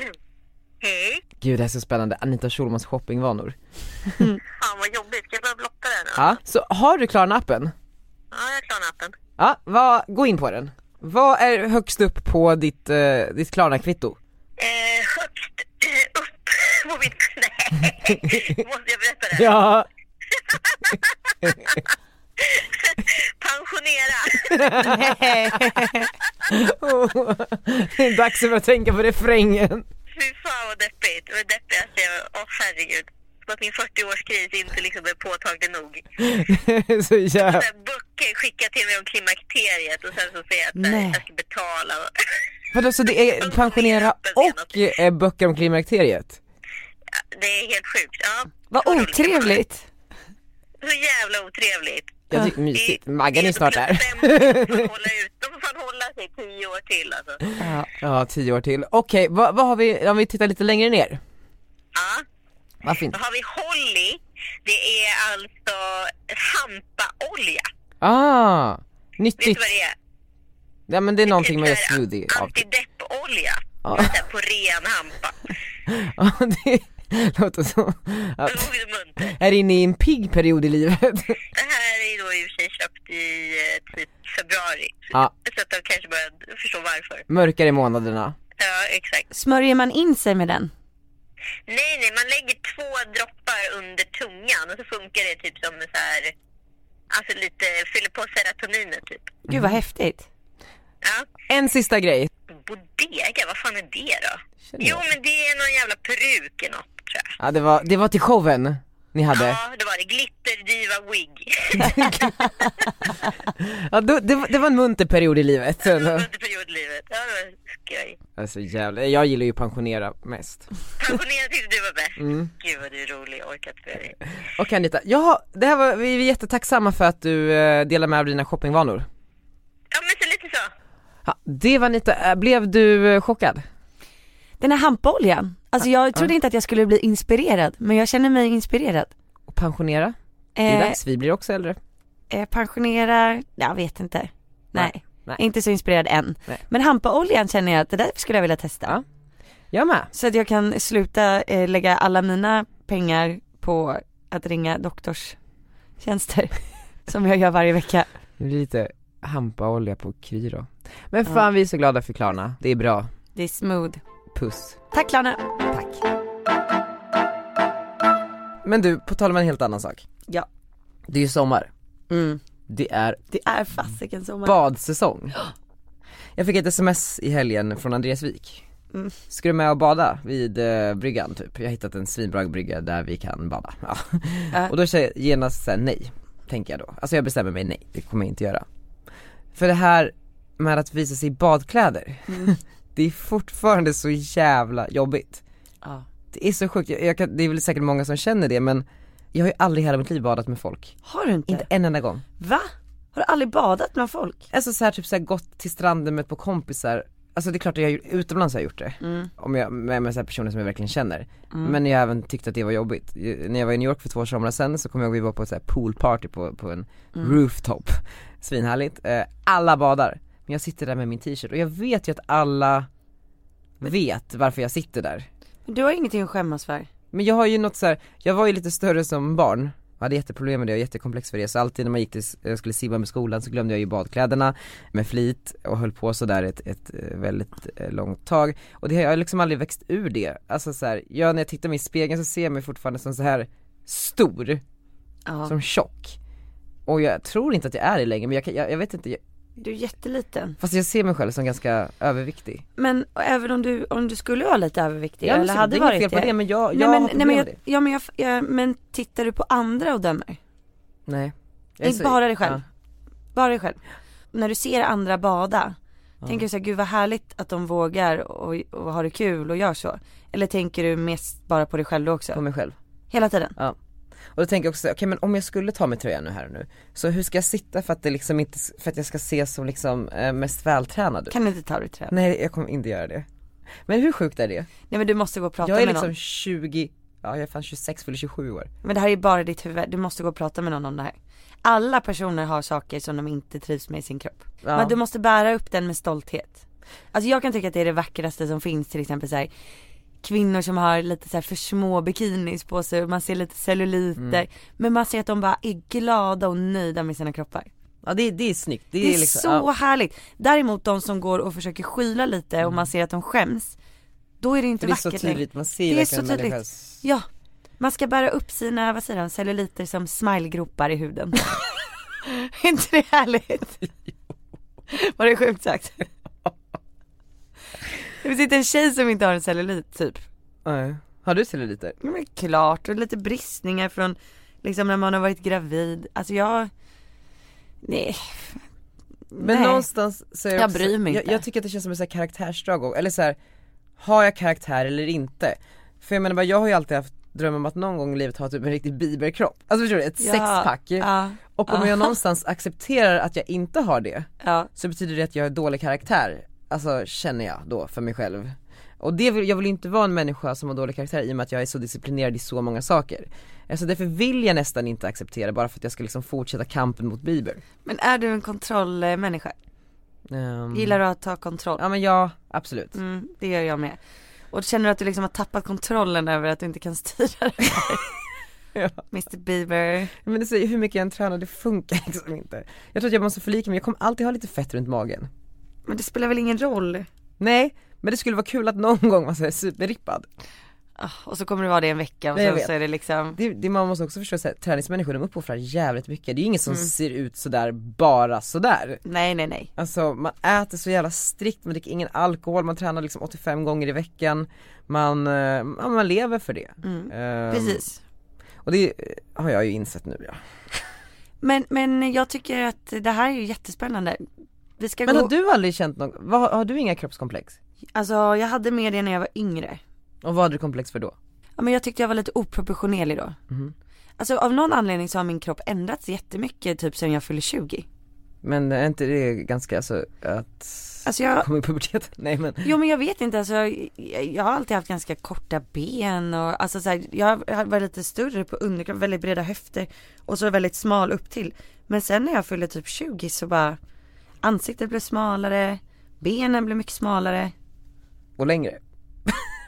S3: Hej.
S1: Gud det här är så spännande, Anita Schulmans shoppingvanor.
S3: Fan vad jobbigt, ska jag börja blotta det här nu?
S1: Ja, så har du Klarna-appen?
S3: Ja, jag är klar med appen.
S1: Ja, vad, gå in på den. Vad är högst upp på ditt, eh, ditt Klarna-kvitto?
S3: Eh, högst eh, upp på mitt... Nej, måste jag berätta det?
S1: Ja!
S3: Pensionera!
S1: det är dags att börja tänka på refrängen.
S3: Fy fan vad deppigt. Det var det deppigaste jag... Åh herregud. Som att min 40-årskris inte liksom är påtaglig nog.
S1: så jävla...
S3: Så här, Böcker skickar till mig om klimakteriet och sen så säger jag att
S2: Nej.
S3: Nej. jag ska betala.
S1: Vadå så det är pensionera och eh, böcker om klimakteriet?
S3: Det är helt sjukt. Ja.
S2: Vad otrevligt!
S3: Så jävla otrevligt.
S1: Jag tycker mysigt, Maggan är ju snart där.
S3: De får hålla ut. De får fan hålla sig tio år till alltså.
S2: Ja.
S1: Ja, tio år till. Okej, vad, vad har vi, om vi tittar lite längre ner?
S3: Ja.
S1: Vad fint.
S3: Då har vi Holly. Det är alltså hampaolja.
S1: Ah,
S3: Vet du
S1: nyttigt.
S3: vad det är?
S1: Ja men det är någonting man gör
S3: Typ så här
S1: smoothie av.
S3: Antideppolja.
S1: Ja.
S3: Fast så här På ren hampa.
S1: Ja, det låter som
S3: Det
S1: att
S3: låg i munter.
S1: är inne i en pigg period i livet.
S3: Det här är ju då i och för sig köpt i eh, typ februari.
S1: Ja.
S3: Så att de kanske börjar förstå varför.
S1: Mörkare månaderna.
S3: Ja, exakt.
S2: Smörjer man in sig med den?
S3: Nej, nej, man lägger två droppar under tungan och så funkar det typ som så här, alltså lite, fyller på serotoninet typ.
S2: Gud
S1: Mhm.
S2: vad häftigt.
S3: Ja.
S1: En sista grej.
S3: Bodega, vad fan är det då?
S1: Känner
S3: Jo,
S1: jag.
S3: men det är någon jävla peruk i något tror jag.
S1: Ja, det, var, det var till showen ni hade.
S3: Ja, det var det. Glitterdiva wig.
S1: Ja, då, det, var- det var en munter period i livet.
S3: Under periodlivet. Ja, det var skoj.
S1: Alltså jävlar, jag gillar ju pensionera mest. Mm.
S3: Pensionerad tyckte du var bäst. Gud vad du är rolig, jag orkar inte med dig.
S1: Okej Anita, ja, det här var, vi är jättetacksamma för att du eh, delar med av dina shoppingvanor.
S3: Ja, men så lite så.
S1: Ja, det var Anita, Eh, blev du eh, chockad?
S2: Den här hampaoljan. Alltså jag trodde inte att jag skulle bli inspirerad men jag känner mig inspirerad.
S1: Och pensionera? Det är
S2: Eh,
S1: dags, vi blir också äldre.
S2: eh, pensionerar, jag vet inte. Nej.
S1: Nej.
S2: Inte så inspirerad än.
S1: Nej.
S2: Men hampaoljan känner jag att det där skulle jag vilja testa.
S1: Ja. Jag med.
S2: Så att jag kan sluta eh, lägga alla mina pengar på att ringa doktorstjänster. som jag gör varje vecka.
S1: Det blir lite hampaolja på Kry då. Men fan vi är så glada för Klarna, det är bra.
S2: Det är smooth.
S1: Puss.
S2: Tack Lana.
S1: Tack. Men du, på tal om en helt annan sak.
S2: Ja.
S1: Det är ju sommar.
S2: Mm.
S1: Det är
S2: Det är Äh, fasiken sommar.
S1: badsäsong. Jag fick ett sms i helgen från Andreas Wik.
S2: Mm.
S1: Ska du med och bada vid eh, bryggan typ? Jag har hittat en svinbra brygga där vi kan bada. Ja.
S2: Äh.
S1: Och då säger jag genast såhär nej, tänker jag då. Alltså jag bestämmer mig nej, det kommer jag inte göra. För det här med att visa sig i badkläder,
S2: Mm.
S1: det är fortfarande så jävla jobbigt.
S2: Ja.
S1: Det är så sjukt, jag, jag kan, det är väl säkert många som känner det men jag har ju aldrig i hela mitt liv badat med folk.
S2: Har du inte?
S1: Inte en enda gång.
S2: Va? Har du aldrig badat bland folk?
S1: Alltså så här, typ så här, gått till stranden med ett par kompisar alltså det är klart att jag har gjort- utomlands har jag gjort det. Om jag, med, med så här personer som jag verkligen känner. Men jag har även tyckt att det var jobbigt. Ju- När jag var i New York för två somrar sedan så kommer jag ihåg vi var på ett så här poolparty på, på en rooftop. Svinhärligt. Eh, alla badar. Men jag sitter där med min t-shirt och jag vet ju att alla vet varför jag sitter där.
S2: Men Du har ingenting att skämmas för.
S1: Men jag har ju något så här, jag var ju lite större som barn jag hade jätteproblem med det och jättekomplex för det, så alltid när man gick till, jag skulle simma med skolan så glömde jag ju badkläderna med flit och höll på sådär ett, ett eh, väldigt eh, långt tag Och det har jag liksom aldrig växt ur det, alltså så här, jag när jag tittar mig i spegeln så ser jag mig fortfarande som så här stor,
S2: Ja.
S1: som tjock Och jag tror inte att jag är det längre men jag, kan, jag, jag vet inte, jag,
S2: Du är jätteliten.
S1: fast jag ser mig själv som ganska överviktig
S2: Men och även om du, om du skulle vara lite överviktig
S1: men
S2: eller
S1: så-
S2: hade
S1: det är
S2: varit
S1: inget fel på det, men jag, jag
S2: nej,
S1: har
S2: men, nej,
S1: problem
S2: men,
S1: med
S2: jag,
S1: det
S2: ja, men, jag, jag, men tittar du på andra och dömer?
S1: Nej Jag
S2: Det är
S1: så-
S2: bara dig själv.
S1: ja.
S2: Bara dig själv. När du ser andra bada, tänker du såhär, gud vad härligt att de vågar och, och har det kul och gör så? Eller tänker du mest bara på dig själv då också?
S1: på mig själv
S2: Hela tiden?
S1: Ja. Och då tänker jag också, så här, okej men om jag skulle ta med tröjan nu här och nu, så hur ska jag sitta för att det liksom inte, för att jag ska se som liksom eh, mest vältränad ut?
S2: Kan du inte ta dig trä? Nej.
S1: Nej jag kommer inte göra det. Men hur sjukt är det?
S2: men du måste gå och prata
S1: Jag är
S2: med
S1: liksom
S2: någon.
S1: 20, ja jag är fan 26, fyller 27 år.
S2: Men det här är bara ditt huvud, du måste gå och prata med någon om det här. Alla personer har saker som de inte trivs med i sin kropp.
S1: Ja.
S2: Men du måste bära upp den med stolthet. Alltså jag kan tycka att det är det vackraste som finns till exempel så här, kvinnor som har lite så här för små bikinis på sig och man ser lite celluliter.
S1: Mm.
S2: Men man ser att de bara är glada och nöjda med sina kroppar.
S1: Ja det, det är snyggt, det,
S2: Det är,
S1: liksom,
S2: så
S1: ja.
S2: härligt. Däremot de som går och försöker skyla lite och man ser att de skäms. Då är det inte
S1: för Mm. det är
S2: vackert
S1: så
S2: längre.
S1: tydligt, man ser ju
S2: Det är
S1: verkligen
S2: så tydligt.
S1: människans
S2: Ja. Man ska bära upp sina, vad säger de, celluliter som smilegropar i huden. är inte det härligt? Var det sjukt sagt? Det finns inte en tjej som inte har en cellulit typ.
S1: Nej. Har du celluliter?
S2: Ja, Men klart, och lite bristningar från liksom när man har varit gravid. Alltså jag, nej.
S1: Men
S2: nej.
S1: någonstans så är
S2: Jag
S1: också,
S2: bryr mig
S1: jag,
S2: inte.
S1: jag tycker att det känns som ett så här karaktärsdrag, och- eller så här, har jag karaktär eller inte? För jag menar bara, jag har ju alltid haft dröm om att någon gång i livet ha typ en riktig biberkropp, alltså förstår du? Ett
S2: Ja,
S1: sexpack.
S2: Ja,
S1: Och om
S2: ja.
S1: jag någonstans accepterar att jag inte har det,
S2: ja.
S1: så betyder det att jag har dålig karaktär, alltså känner jag då för mig själv. Och det vill, jag vill ju inte vara en människa som har dålig karaktär i och med att jag är så disciplinerad i så många saker. Alltså därför vill jag nästan inte acceptera bara för att jag ska liksom fortsätta kampen mot Bieber.
S2: Men är du en kontrollmänniska?
S1: Ehm,
S2: Gillar du att ta kontroll?
S1: Ja men ja, absolut.
S2: Mm, det gör jag med. Och känner du att du liksom har tappat kontrollen över att du inte kan styra det här?
S1: Ja.
S2: Mr Bieber.
S1: Men det säger hur mycket jag än tränar, det funkar liksom inte. Jag tror att jag måste förlika mig, jag kommer alltid ha lite fett runt magen.
S2: Men det spelar väl ingen roll?
S1: Nej, men det skulle vara kul att någon gång vara såhär superrippad.
S2: Ah, Och så kommer du vara det en vecka och
S1: Nej, jag
S2: sen
S1: vet.
S2: så är det liksom
S1: Det, det man måste också förstå såhär, träningsmänniskor de uppoffrar jävligt mycket, det är ju ingen som ser ut sådär bara sådär.
S2: Nej nej nej.
S1: Alltså man äter så jävla strikt, man dricker ingen alkohol, man tränar liksom 85 gånger i veckan, man, eh, ja, man lever för det. Ehm,
S2: Precis.
S1: Och det eh, har jag ju insett nu ja.
S2: Men, men jag tycker att det här är ju jättespännande. Vi ska
S1: Men
S2: gå...
S1: har du aldrig känt någon, vad, har du inga kroppskomplex?
S2: Alltså jag hade med det när jag var yngre.
S1: Och vad hade du komplex för då?
S2: Ja, men jag tyckte jag var lite oproportionerlig då.
S1: Mhm.
S2: Alltså av någon anledning så har min kropp ändrats jättemycket typ sen jag fyllde 20.
S1: Men är inte det ganska alltså att
S2: Alltså jag,
S1: komma i puberteten? Nej men,
S2: Jo men jag vet inte, alltså, jag, jag har alltid haft ganska korta ben och alltså, så här, jag har varit lite större på underkroppen, väldigt breda höfter och så väldigt smal upp till. Men sen när jag fyllde typ 20 så bara ansiktet blev smalare, benen blev mycket smalare.
S1: och längre.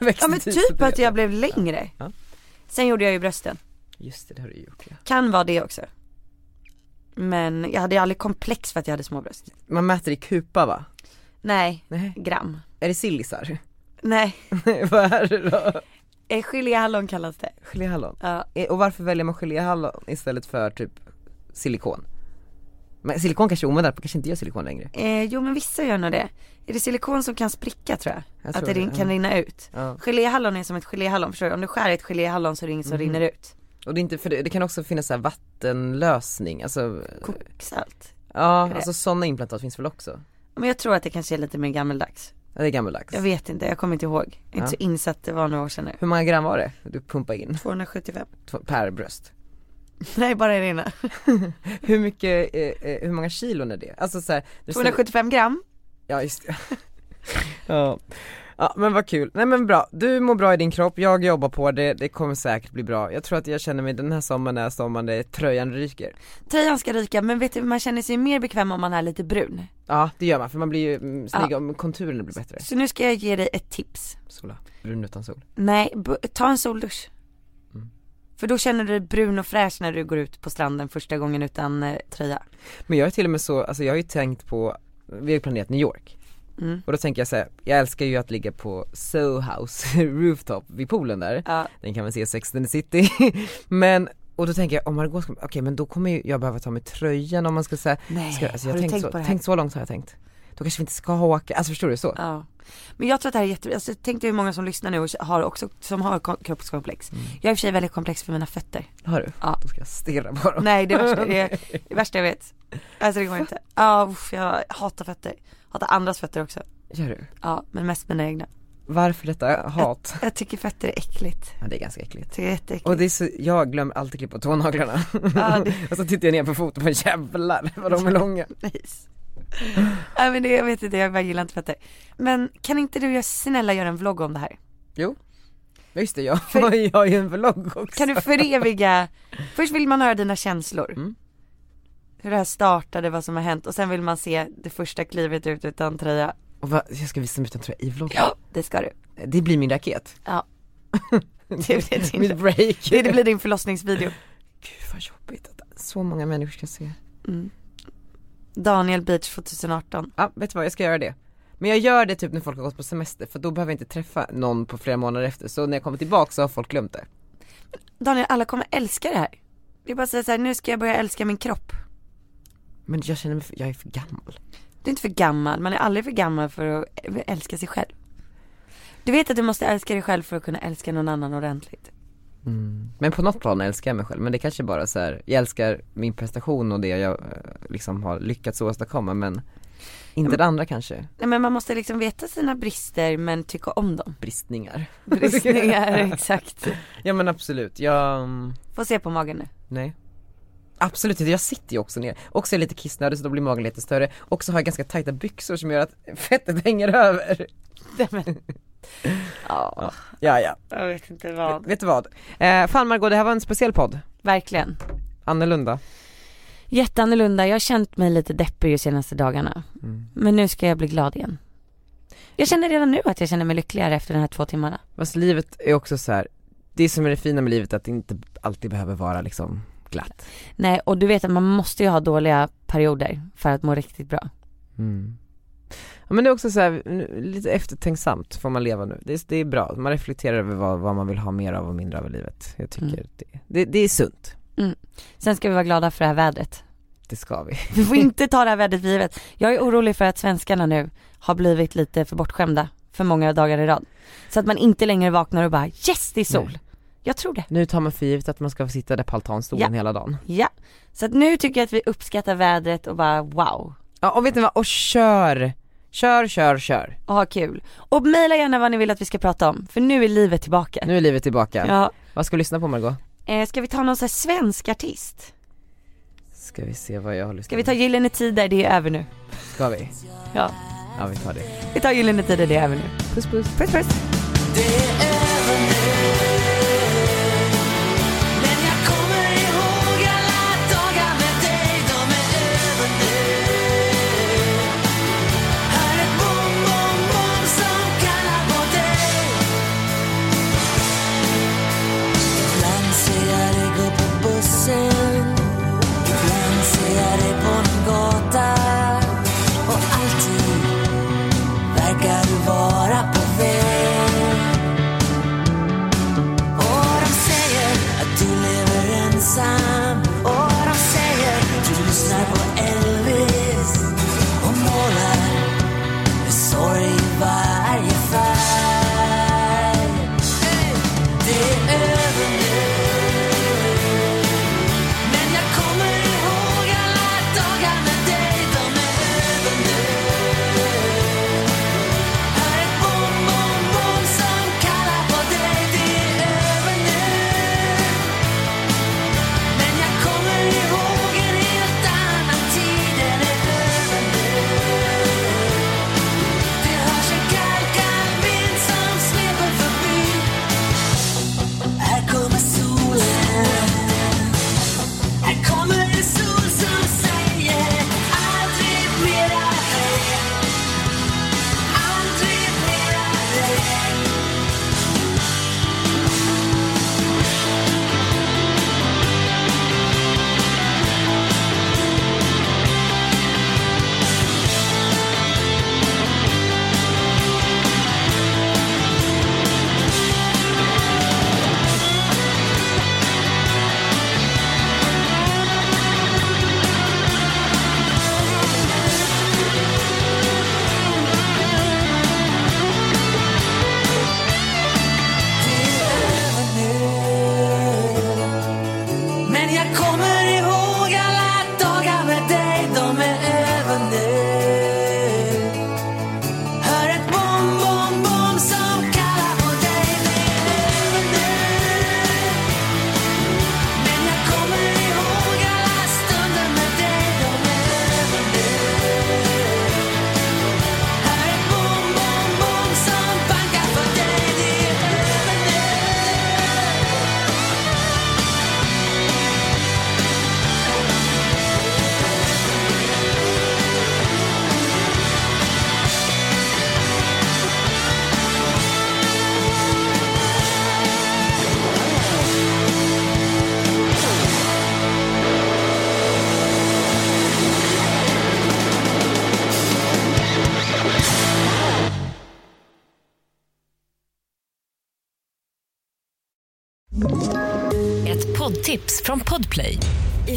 S2: Ja men
S1: Växte till
S2: typ att
S1: puberteten.
S2: jag blev längre.
S1: Ja.
S2: Sen gjorde jag ju brösten,
S1: Just det, det har du gjort ja.
S2: kan vara det också. Men jag hade ju aldrig komplex för att jag hade små bröst.
S1: Man mäter i kupa va?
S2: Nej,
S1: Nej.
S2: gram.
S1: Är det sillisar?
S2: Nej,
S1: Vad är det då?
S2: eh, geléhallon kallas det.
S1: Geléhallon.
S2: Ja.
S1: Eh, Och varför väljer man geléhallon istället för typ silikon? Men silikon kanske är omodernt, man kanske inte gör silikon längre.
S2: Eh, jo men vissa gör nog det. Är det silikon som kan spricka tror jag?
S1: Jag
S2: att
S1: tror
S2: det, rin-
S1: det,
S2: kan
S1: ja.
S2: rinna ut.
S1: Ja.
S2: Geléhallon är som ett geléhallon, förstår du? Om du skär i ett geléhallon så är det inget som rinner ut.
S1: Och det, är inte, för det, det kan också finnas så här vattenlösning, alltså
S2: Koksalt.
S1: ja,
S2: det?
S1: alltså sådana implantat finns väl också?
S2: Men jag tror att det kanske är lite mer gammeldags.
S1: Ja, det är gammaldags.
S2: Jag vet inte, jag kommer inte ihåg. Jag är
S1: Ja.
S2: inte så insatt, det var några år sedan nu.
S1: Hur många gram var det du pumpade in
S2: 275.
S1: Två- per bröst?
S2: Nej, bara i det ena.
S1: Hur mycket, eh, eh, hur många kilon är det? Alltså så här, du ställer-
S2: 275 gram.
S1: ja just det. Ja. ja men vad kul, nej men bra, du mår bra i din kropp, jag jobbar på det, det kommer säkert bli bra. Jag tror att jag känner mig den här sommaren är sommaren där tröjan ryker.
S2: Tröjan ska ryka men vet du man känner sig mer bekväm om man är lite brun.
S1: Ja det gör man för man blir ju mm, snygg om konturen blir bättre.
S2: Så nu ska jag ge dig ett tips.
S1: Sola, brun utan sol.
S2: Nej, bu- ta en soldusch. Mm. För då känner du dig brun och fräsch när du går ut på stranden första gången utan eh, tröja.
S1: Men jag är till och med så, alltså jag har ju tänkt på, vi har ju planerat New York.
S2: Mm.
S1: Och då tänker jag så här, jag älskar ju att ligga på Soho House rooftop vid poolen där.
S2: Ja.
S1: Den kan man se i Sex and the City. men, och då tänker jag om Margot ska, okej men då kommer ju jag behöva ta med tröjan om man ska säga
S2: Nej,
S1: ska, alltså, jag
S2: Eh, har du
S1: tänkt
S2: tänkt
S1: så,
S2: på det här?
S1: Tänkt så långt har jag tänkt. Då kanske vi inte ska åka, alltså förstår du så?
S2: Ja. Men jag tror att det här är jätte, alltså, tänk dig hur många som lyssnar nu och har också, som har kom- kroppskomplex.
S1: Mm.
S2: Jag är i och för sig väldigt komplex för mina fötter.
S1: Har du?
S2: Ja.
S1: Då ska jag stirra på dem.
S2: Nej det är värsta, det, är, det värsta jag vet. Alltså det går inte. Ja, uff, jag hatar fötter. Hatar andras fötter också.
S1: Gör du?
S2: Ja, men mest mina egna.
S1: Varför detta hat?
S2: Jag tycker fötter är äckligt.
S1: Ja, det är ganska äckligt.
S2: Jag tycker det är jätteäckligt.
S1: Och det är så, jag glömmer alltid klippa tånaglarna.
S2: Ja, det-
S1: och så tittar jag ner på foten på jävlar vad de är långa.
S2: Nice. Nej men det, jag vet inte, jag bara gillar inte fötter. Men kan inte du göra- snälla göra en vlogg om det här?
S1: Ja, Just det, jag har ju- jag har ju en vlogg också.
S2: Kan du föreviga, först vill man höra dina känslor.
S1: Mm.
S2: Hur det här startade, vad som har hänt och sen vill man se det första klivet ut utan tröja.
S1: Och vad, jag ska visa mig utan tröja i vloggen.
S2: Ja, det ska du.
S1: Det blir min raket.
S2: Ja.
S1: det
S2: blir din-
S1: Mitt break.
S2: Det, det blir din förlossningsvideo.
S1: Gud vad jobbigt att så många människor ska se.
S2: Mm. Daniel Beach 2018.
S1: Ja, vet du vad, jag ska göra det. Men jag gör det typ när folk har gått på semester för då behöver jag inte träffa någon på flera månader efter. Så när jag kommer tillbaka så har folk glömt det.
S2: Daniel, alla kommer älska det här. Det är bara att säga så här, nu ska jag börja älska min kropp.
S1: Men jag känner mig, för, jag är för gammal.
S2: Du är inte för gammal, man är aldrig för gammal för att älska sig själv. Du vet att du måste älska dig själv för att kunna älska någon annan ordentligt.
S1: Men på något plan älskar jag mig själv, men det kanske bara så här, jag älskar min prestation och det jag eh, liksom har lyckats åstadkomma men inte det andra kanske,
S2: Nej men man måste liksom veta sina brister men tycka om dem.
S1: bristningar.
S2: Bristningar, exakt.
S1: Ja men absolut, jag, mm,
S2: Få se på magen nu.
S1: nej. Absolut inte, jag sitter ju också ner. Också är jag lite kissnödig så då blir magen lite större. Och så har jag ganska tajta byxor som gör att fettet hänger över.
S2: Nej, men- Ja,
S1: Ja ja,
S2: jag vet inte vad.
S1: vet du vad? Eh, fan Margot, det här var en speciell podd.
S2: Verkligen.
S1: Annorlunda.
S2: Jätteannorlunda, jag har känt mig lite deppig de senaste dagarna.
S1: Mm.
S2: Men nu ska jag bli glad igen. Jag känner redan nu att jag känner mig lyckligare efter de här två timmarna.
S1: Fast livet är också så här. det som är det fina med livet är att det inte alltid behöver vara liksom glatt.
S2: Nej, och du vet att man måste ju ha dåliga perioder för att må riktigt bra.
S1: Mm. Ja, men det är också så här, nu- lite eftertänksamt får man leva nu. Det är, det är bra, man reflekterar över vad, vad man vill ha mer av och mindre av i livet. Jag tycker
S2: Mm.
S1: det, det, det är sunt,
S2: Sen ska vi vara glada för det här vädret.
S1: det ska vi.
S2: Vi får inte ta det här vädret för givet. Jag är orolig för att svenskarna nu har blivit lite för bortskämda för många dagar i rad. Så att man inte längre vaknar och bara yes det är sol.
S1: Nej.
S2: Jag tror det.
S1: Nu tar man för givet att man ska få sitta där på altanstolen hela dagen.
S2: Ja. Så att nu tycker jag att vi uppskattar vädret och bara wow.
S1: Ja och vet ni vad, och kör! Kör, kör, kör.
S2: och ha kul. Och mejla gärna vad ni vill att vi ska prata om, för nu är livet tillbaka.
S1: Nu är livet tillbaka.
S2: Ja.
S1: Vad ska vi lyssna på Margot?
S2: Eh, ska vi ta någon sån här svensk artist?
S1: Ska vi se vad jag har lyssnat
S2: Ska vi ta Gyllene Tider, det är över nu.
S1: på? Ska vi?
S2: Ja,
S1: Ja vi tar det.
S2: vi tar Gyllene Tider, det är över nu.
S1: Puss puss.
S2: Puss puss.
S4: Men jag kommer ihåg alla dagar med dig, de är över nu Hör ett bom, bom, bom som kallar på dig Ibland ser jag dig gå på bussen Ibland ser jag dig på en gata Och alltid verkar du vara på väg
S5: Poddtips från Podplay. I